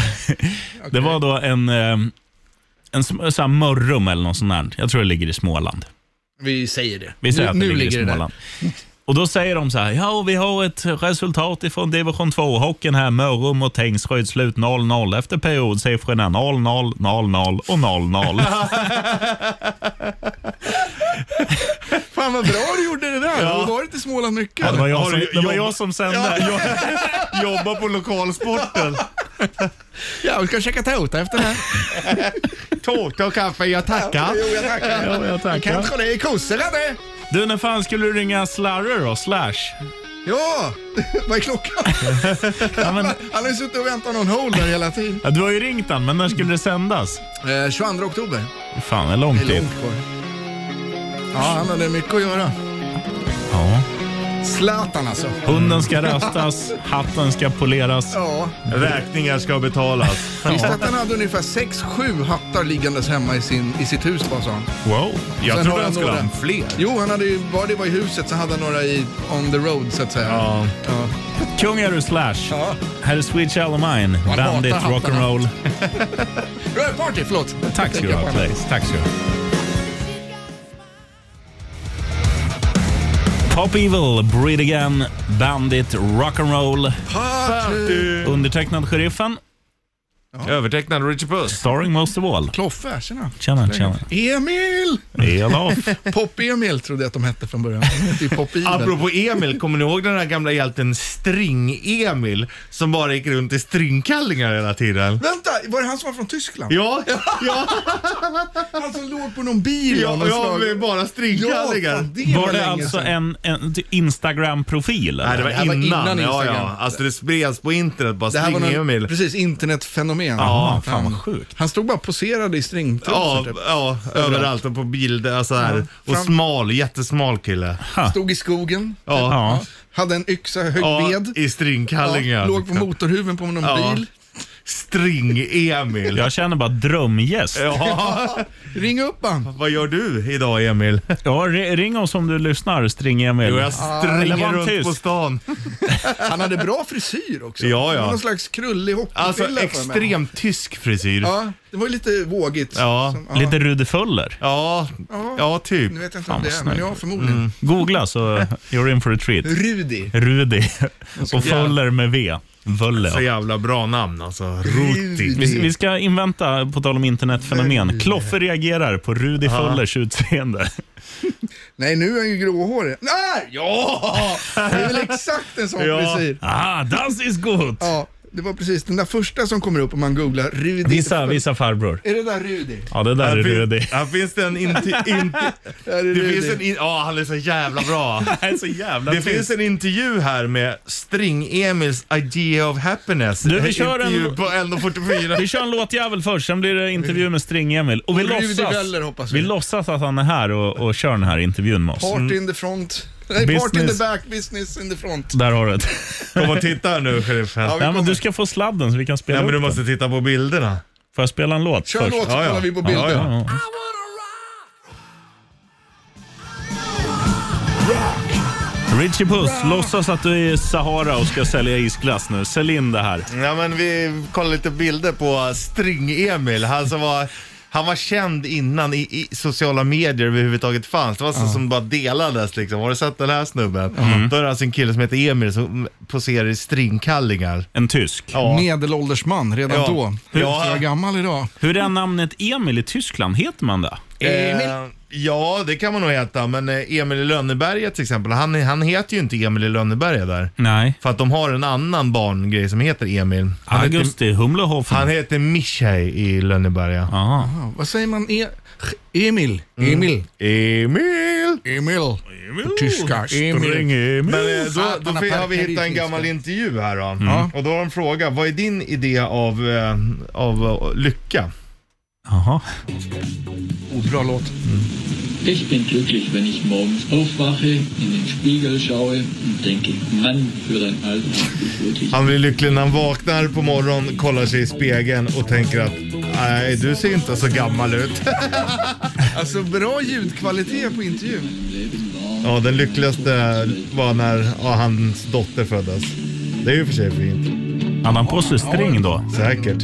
C: det var då en, eh, en sm- så här Mörrum eller något sånt där. Jag tror det ligger i Småland.
B: Vi säger det.
C: Vi säger att det
B: nu
C: ligger,
B: ligger
C: i
B: det där.
C: Småland. Och då säger de så här, ja vi har ett resultat ifrån division 2-hockeyn här, Mörrum och Tingsryd slut 0-0 efter periodsiffrorna 0-0, 0-0 och 0-0.
B: Fan vad bra du gjorde det där. Du har varit i Småland mycket.
C: Det var jag
D: Har
C: som,
D: du
C: det var
D: jobb-
C: jag som sände.
D: Jobba på lokalsporten.
B: Ja, vi ska käka tårta efter det här.
D: Tårta och kaffe, jag tackar.
B: Jo, jag tackar.
C: jag tackar.
B: Kanske det är kossorna det.
C: Du, när fan skulle du ringa Slarre då? Slash?
B: Ja, vad är klockan?
C: Ja, men,
B: Han har ju suttit och väntat någon hole där hela tiden.
C: ja, du har ju ringt han, men när skulle det sändas?
B: Eh, 22 oktober.
C: Fan, det är långt
B: Det är
C: dit.
B: långt kvar. Ja, han hade mycket att göra.
C: Ja.
B: Zlatan alltså.
C: Hunden ska rastas, hatten ska poleras.
B: Ja,
D: Räkningar ska betalas.
B: visste att han hade ungefär 6-7 hattar liggandes hemma i, sin, i sitt hus bara sa han.
C: Wow.
B: Sen
D: Jag
B: har
D: trodde han
B: jag
D: skulle
B: några.
D: ha fler.
B: Jo, han hade ju, bara det var i huset så hade han några i on the road så att säga.
D: Ja.
B: Ja.
C: Kung är du Slash.
B: Ja.
C: Här är Swedish Alamine,
B: hatar
C: Bandit,
B: hattarna.
C: rock'n'roll.
B: Ja, Party, förlåt.
C: Tack ska
B: Tänker
C: du
B: jag
C: ha,
B: på annat.
C: Claes. Tack ska du ha. Pop Evil, Breed Again, Bandit, Rock'n'Roll.
B: Ah, Party!
C: Undertecknad Sheriffen,
D: Övertecknad Richard Puss.
C: starring most of all.
B: Kloffe, tjena.
C: Tjena, tjena.
B: Emil!
C: Elof.
B: Pop-Emil trodde jag att de hette från början. De hette ju Pop-Ivel.
D: Apropå Emil, kommer ni ihåg den här gamla hjälten String-Emil som bara gick runt i stringkallingar hela tiden?
B: Vänta, var det han som var från Tyskland?
D: Ja, ja,
B: Han som låg på någon bil av
D: ja,
B: något
D: ja
B: slag.
D: med bara
B: Ja,
D: stringkallingar.
B: fan, det var,
C: Var det
B: länge
C: alltså
B: sedan.
C: en, en Instagram-profil? eller?
D: Nej, det var
B: här var
D: innan.
B: innan
D: ja, ja.
B: Instagram.
D: Alltså det spreds på internet bara
B: Det här var någon,
D: String-Emil.
B: precis, internetfenomen. igen.
D: Ja,
C: fan, vad sjukt.
B: Han stod bara och poserade i stringtrosor.
D: Ja,
B: Typ.
D: ja, överallt och på bilder och så här. Och
B: Fram-
D: smal, jättesmal kille.
B: Stod i skogen.
D: Ja,
C: Ja.
B: Hade en yxa, högg
D: ja,
B: ved.
D: i stringkallingar. Liksom.
B: Ja, låg på motorhuven på någon
D: Ja.
B: bil.
D: String-Emil.
C: Jag känner bara drömgäst. Ja.
D: Ja,
B: Ring upp han.
D: vad gör du idag Emil?
C: ri- ring oss om du lyssnar,
B: Ah,
C: string-Emil.
D: Jo, jag
C: eller var
D: springer
C: han
D: runt
C: tyst?
D: på stan.
B: Han hade bra frisyr också.
D: Ja, ja.
B: Det var Någon slags krullig hockeyfrilla.
D: Alltså
B: för mig.
D: extremt tysk frisyr. Ja.
B: Ja, det var ju lite vågigt.
D: Ja,
C: Lite Rudi Fuller.
D: Ja, typ.
B: Nu vet jag inte
C: Fan,
B: om det är,
C: vad
B: men
C: snygg.
B: ja, förmodligen.
C: Googla så you're in for a treat.
B: Rudi.
C: Rudi och Fuller med V. Völle.
D: Så jävla bra namn alltså. Ruti.
C: Vi, vi ska invänta, på tal om internetfenomen, Kloffe reagerar på Rudi Fullers utseende.
B: Nej, nu är han ju gråhårig. Nej, ja! Det är väl exakt en sån
D: Ja.
B: frisyr.
C: Ah, das ist gut!
B: Ja, det var precis den där första som kommer upp om man googlar Rudi.
C: Visa, visa farbror.
B: Är det där Rudi?
C: Ja, det där är Rudi.
D: Här finns det en inti- inti-
B: Där är det
D: Det finns en... in- Ja, han är så jävla bra.
C: Det är så jävla
D: Det finns en intervju här med String-Emils Idea of Happiness.
C: Du, vi kör en-
D: intervju på 1.44.
C: Vi kör en låtjävel först, sen blir det intervju med String-Emil. Och vi
B: Och Rudi
C: låtsas,
B: Weller, hoppas vi.
C: vi låtsas att han är här och, och kör den här intervjun med oss. Mm.
B: Part in the front. Nej, part in
C: Business.
B: the back, business in the front.
C: Där har du det.
D: Kom och titta här nu, sheriffen.
B: Ja, vi
C: Nej, men
B: kommer.
C: du ska få sladden så vi kan spela
D: Nej, men du
C: upp
D: måste
C: den.
D: titta på bilderna.
C: Får jag spela en låt
B: Kör
C: först?
B: låt så
D: Ja, ja.
B: kollar vi på
D: Ja,
B: bilden.
D: ja.
C: Ja. Richie Puss, låtsas att du är i Sahara och ska sälja isglass nu. Sälj in det här.
D: Ja, men vi kollar lite bilder på String-Emil. Han som var... Han var känd innan i, i sociala medier överhuvudtaget fanns. Det var så som bara delades liksom. Har du sett den här snubben? Då är det alltså en kille som heter Emil som poserar i stringkallingar.
C: En tysk.
D: Ja.
B: Medelålders man redan
D: Ja.
B: då. Hur
D: Ja.
B: ja. gammal idag?
C: Hur är namnet Emil i Tyskland? Heter man det?
D: Eh, ja, det kan man nog heta. Men eh, Emil i Lönneberga till exempel, han, han heter ju inte Emil i Lönneberga där.
C: Nej.
D: För att de har en annan barngrej som heter Emil.
C: Ah.
D: Han heter,
C: Augusti Humlehofen.
D: han heter Michaj i Lönneberga.
C: Aha.
B: Ja, vad säger man? E- Emil. Emil.
D: Emil!
B: Emil. På tyska.
C: String
B: Emil.
C: Emil.
D: Men eh, då,
B: Satan,
D: då fick- har vi
B: parkeri
D: hittat en
B: finns
D: gammal
B: det.
D: intervju här då.
B: Ja.
D: Och då har de frågat, vad är din idé av, eh, av eh, lycka?
C: Aha.
B: Oh, bra låt.
J: Ich bin glücklich, wenn ich morgens aufwache, in den Spiegel schaue und denke, Mann, für dein Alter bist du wirklich.
D: Han blir lycklig när han vaknar på morgonen, kollar sig i spegeln och tänker att nej, du ser inte så gammal ut.
B: Alltså bra ljudkvalitet på intervjun.
D: Ja, den lyckligaste var när ja, hans dotter föddes. Det är ju för sig fint.
C: Hade han på sig string då?
D: Säkert.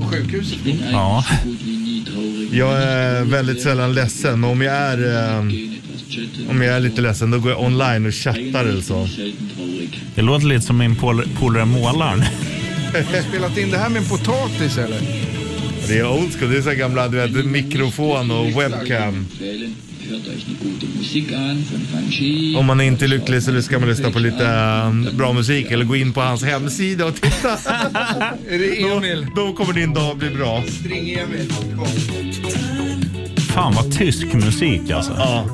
B: På sjukhuset.
J: Ich bin eigentlich
C: Ja.
J: so gut wie nie traurig.
D: Jag är väldigt sällan ledsen, men om jag är, eh,
J: Gehen etwas chatten.
D: om jag är lite ledsen då går jag online och chattar eller så.
J: Selten traurig.
C: Det låter lite som min pol- polare målaren.
B: Har du spelat in det här med en potatis eller?
D: Det är old school, det är så här gamla du vet, mikrofon och Oh, webcam.
J: Quälen. Hört euch eine gute Musik an von Fanchi.
D: Om man är inte är lycklig så ska man lyssna på lite eh, bra musik eller gå in på hans hemsida och titta.
B: Är det
D: Då,
B: Emil?
D: då kommer din dag bli bra.
B: String Emil.
C: Fan vad tysk musik alltså.
D: Ja.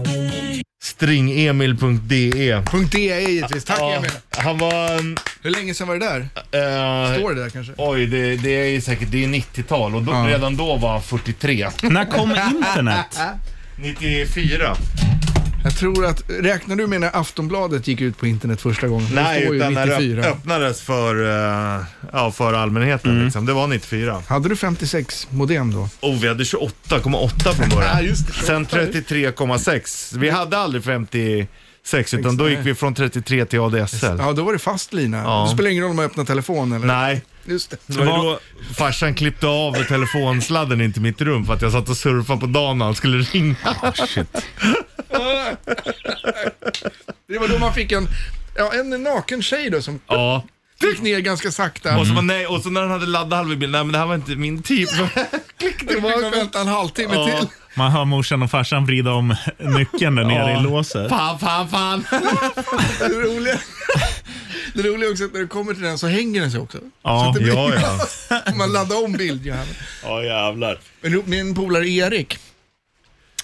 D: Stringemil.de
B: Punkt E är givetvis. Tack
D: Ja,
B: Emil.
D: han var... en,
B: Hur länge sedan var det där?
D: eh,
B: Står det där kanske?
D: Oj, det, det är ju säkert det är 90-tal och då,
B: Ja.
D: redan då var han 43.
C: När kom internet?
D: 94?
B: Jag tror att, räknar du med när Aftonbladet gick ut på internet första gången? Det
D: Nej,
B: står ju
D: utan när det
B: 94.
D: öppnades för, eh, ja, för allmänheten.
B: Mm.
D: Liksom. Det var 94.
B: Hade du 56 modem då?
D: Oh, vi hade 28,8 från
B: Ja,
D: början.
B: just det.
D: Sen 33,6. Vi hade aldrig 56 utan då gick vi från 33 till ADSL.
B: Ja, då var det fast lina.
D: Ja.
B: Det spelar ingen roll om man öppnar telefonen eller?
D: Nej,
B: Just det.
D: det var ju då farsan klippte av telefonsladden in till mitt rum för att jag satt och surfade på dagen när han skulle ringa.
C: Oh,
B: Det var då man fick en, ja, en naken tjej då som
D: Ja. Mm.
B: gick ner ganska sakta.
D: Och så, bara, nej, och så när han hade laddat halva bilen, nej men det här var inte min typ.
B: det var vänta en halvtimme
D: Ja.
B: till.
C: Man hör morsan och farsan vrida om nyckeln där nere
D: Ja.
C: i låset.
D: fan, fan, fan.
B: Det roliga, det roliga är också att när du kommer till den så hänger den sig också.
C: Ja.
D: Ja, ja.
B: Man laddar om bild. Ja.
C: Ja jävlar.
B: Men Min polare Erik,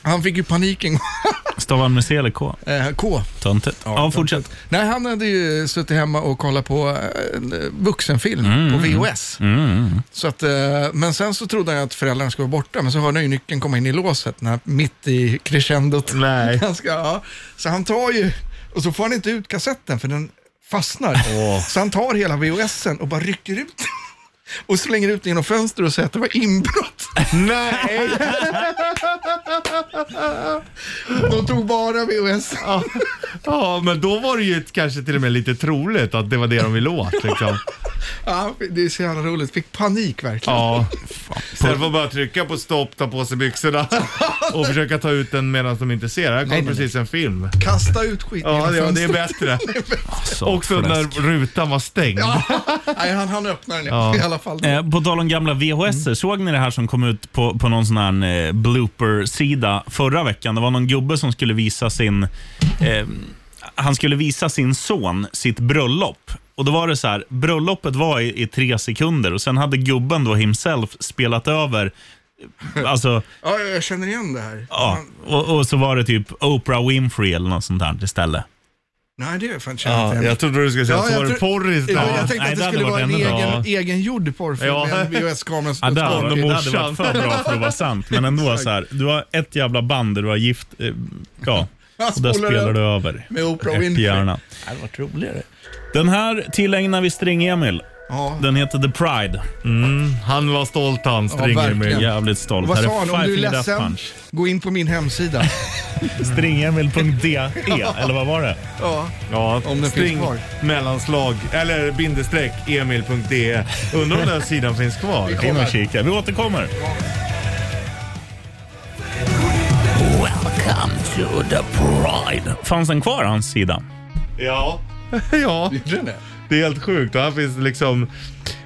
B: Han fick ju panik en gång.
C: Stavar han med C eller K?
B: Eh, K.
C: Töntigt. Ja, fortsätt.
B: Nej, han hade ju suttit hemma och kollat på eh, en vuxenfilm på VHS. Så att, eh, men sen så trodde han ju att föräldrarna skulle vara borta, men så hörde han ju nyckeln komma in i låset när, mitt i crescendot.
D: Nej.
B: Ganska, ja. Så han tar ju, och så får han inte ut kassetten för den fastnar. Så han tar hela VHSen och bara rycker ut den. och slänger ut den genom fönstret och säger att det var inbrott.
D: Nej!
B: De tog bara VHS.
D: Ja. ja, men då var det ju ett- kanske till och med lite troligt att det var det de ville åt. Liksom.
B: Ja, det är så jävla roligt. Fick panik verkligen.
D: Ja. Sen får bara trycka på stopp, ta på sig byxorna och försöka ta ut den medan de inte ser. Här kom
B: Nej, nej,
D: precis en film.
B: Kasta ut skit
D: Ja,
B: genom
D: det, ja, det är
B: fönstret.
D: bättre.
C: Alltså,
D: Också när
C: fläsk.
D: rutan var stängd.
B: Nej, han, han öppnar den
D: Ja.
B: i alla fall.
C: Eh, på tal om gamla VHS, såg ni det här som kom ut på, på någon sån här eh, blooper-sida förra veckan? Det var någon gubbe som skulle visa sin, eh, han skulle visa sin son sitt bröllop. Och då var det så här, bröllopet var i, i tre sekunder och sen hade gubben då himself spelat över eh, Alltså,
B: Ja, jag känner igen det här.
C: ja.
B: Han-
C: Och, och så var det typ Oprah Winfrey eller något sånt där istället.
B: Nej, det är fan känner
D: Ja,
B: jag inte
D: jag
B: igen.
D: trodde du skulle säga
B: Ja,
D: att det
B: jag
D: var det
B: tror-
D: porr
B: Ja,
D: istället.
B: jag tänkte
C: Nej,
B: att
C: det
B: det
C: hade
B: skulle
C: varit
B: vara en
C: ännu
B: egen,
C: bra.
B: egengjord porrfilm
D: Ja.
B: med en VHS-kamera
C: Ja,
B: som
C: det,
B: står
C: hade,
B: kvar.
C: det hade
D: morsan.
C: varit för bra för att vara sant. Men ändå så här, du har ett jävla band där du har gift, eh, ja,
B: Han
C: och
B: spolar
C: där spelar
B: över
C: du över.
B: Med Oprah Winfrey.
C: Rätthjärna. Det hade varit roligare. Den här tillägnar vi String-Emil.
B: Ja.
C: Den heter The Pride.
D: Han var stolt han, springer
B: verkligen.
D: med.
C: Jävligt stolt.
B: Vad
C: Här
B: sa han? Om
C: Five
B: du är
C: Finger Death
B: ledsen,
C: Punch.
B: gå in på min hemsida.
C: Stringemil.de, E, eller vad var det?
B: Ja.
D: Ja,
B: Om den
D: string,
B: finns kvar.
D: mellanslag, eller bindestreck, emil.de. Undrar om den sidan finns kvar.
C: In och kika. Vi återkommer. Welcome to the Pride. Fanns den kvar, hans sida?
D: Ja. ja.
B: Gjorde den det?
D: Det är helt sjukt. Och här finns liksom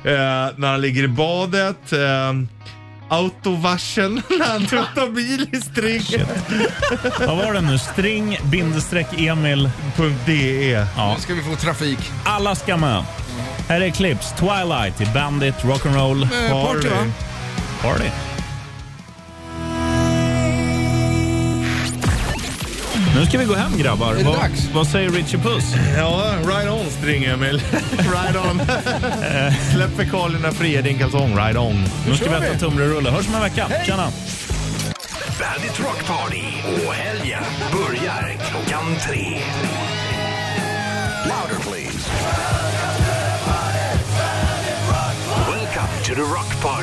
D: eh, när han ligger i badet, eh, autovaschen, när han tuttar bil i string.de.
C: Vad var den nu? String bindestreck Emil.
D: E.
C: Ja.
B: Nu ska vi få trafik.
C: Alla ska med. Här är Eclipse, Twilight, i Bandit, Rock'n'Roll,
B: Eh, party, va?
C: Party. Nu ska vi gå hem grabbar.
B: det
C: Vad-
B: dags?
C: Vad säger Richie Puss?
D: Ja, ride on string Emil. ride on. Släpp fekalierna fria i din kalsong, ride on.
C: Nu ska vi
B: kör
C: äta
B: vi.
C: tunnbrödsrulle. Hörs om en vecka. Tjena!
A: Bandit Rock Party och helgen börjar klockan tre. Louder please. Welcome to the Rock Party.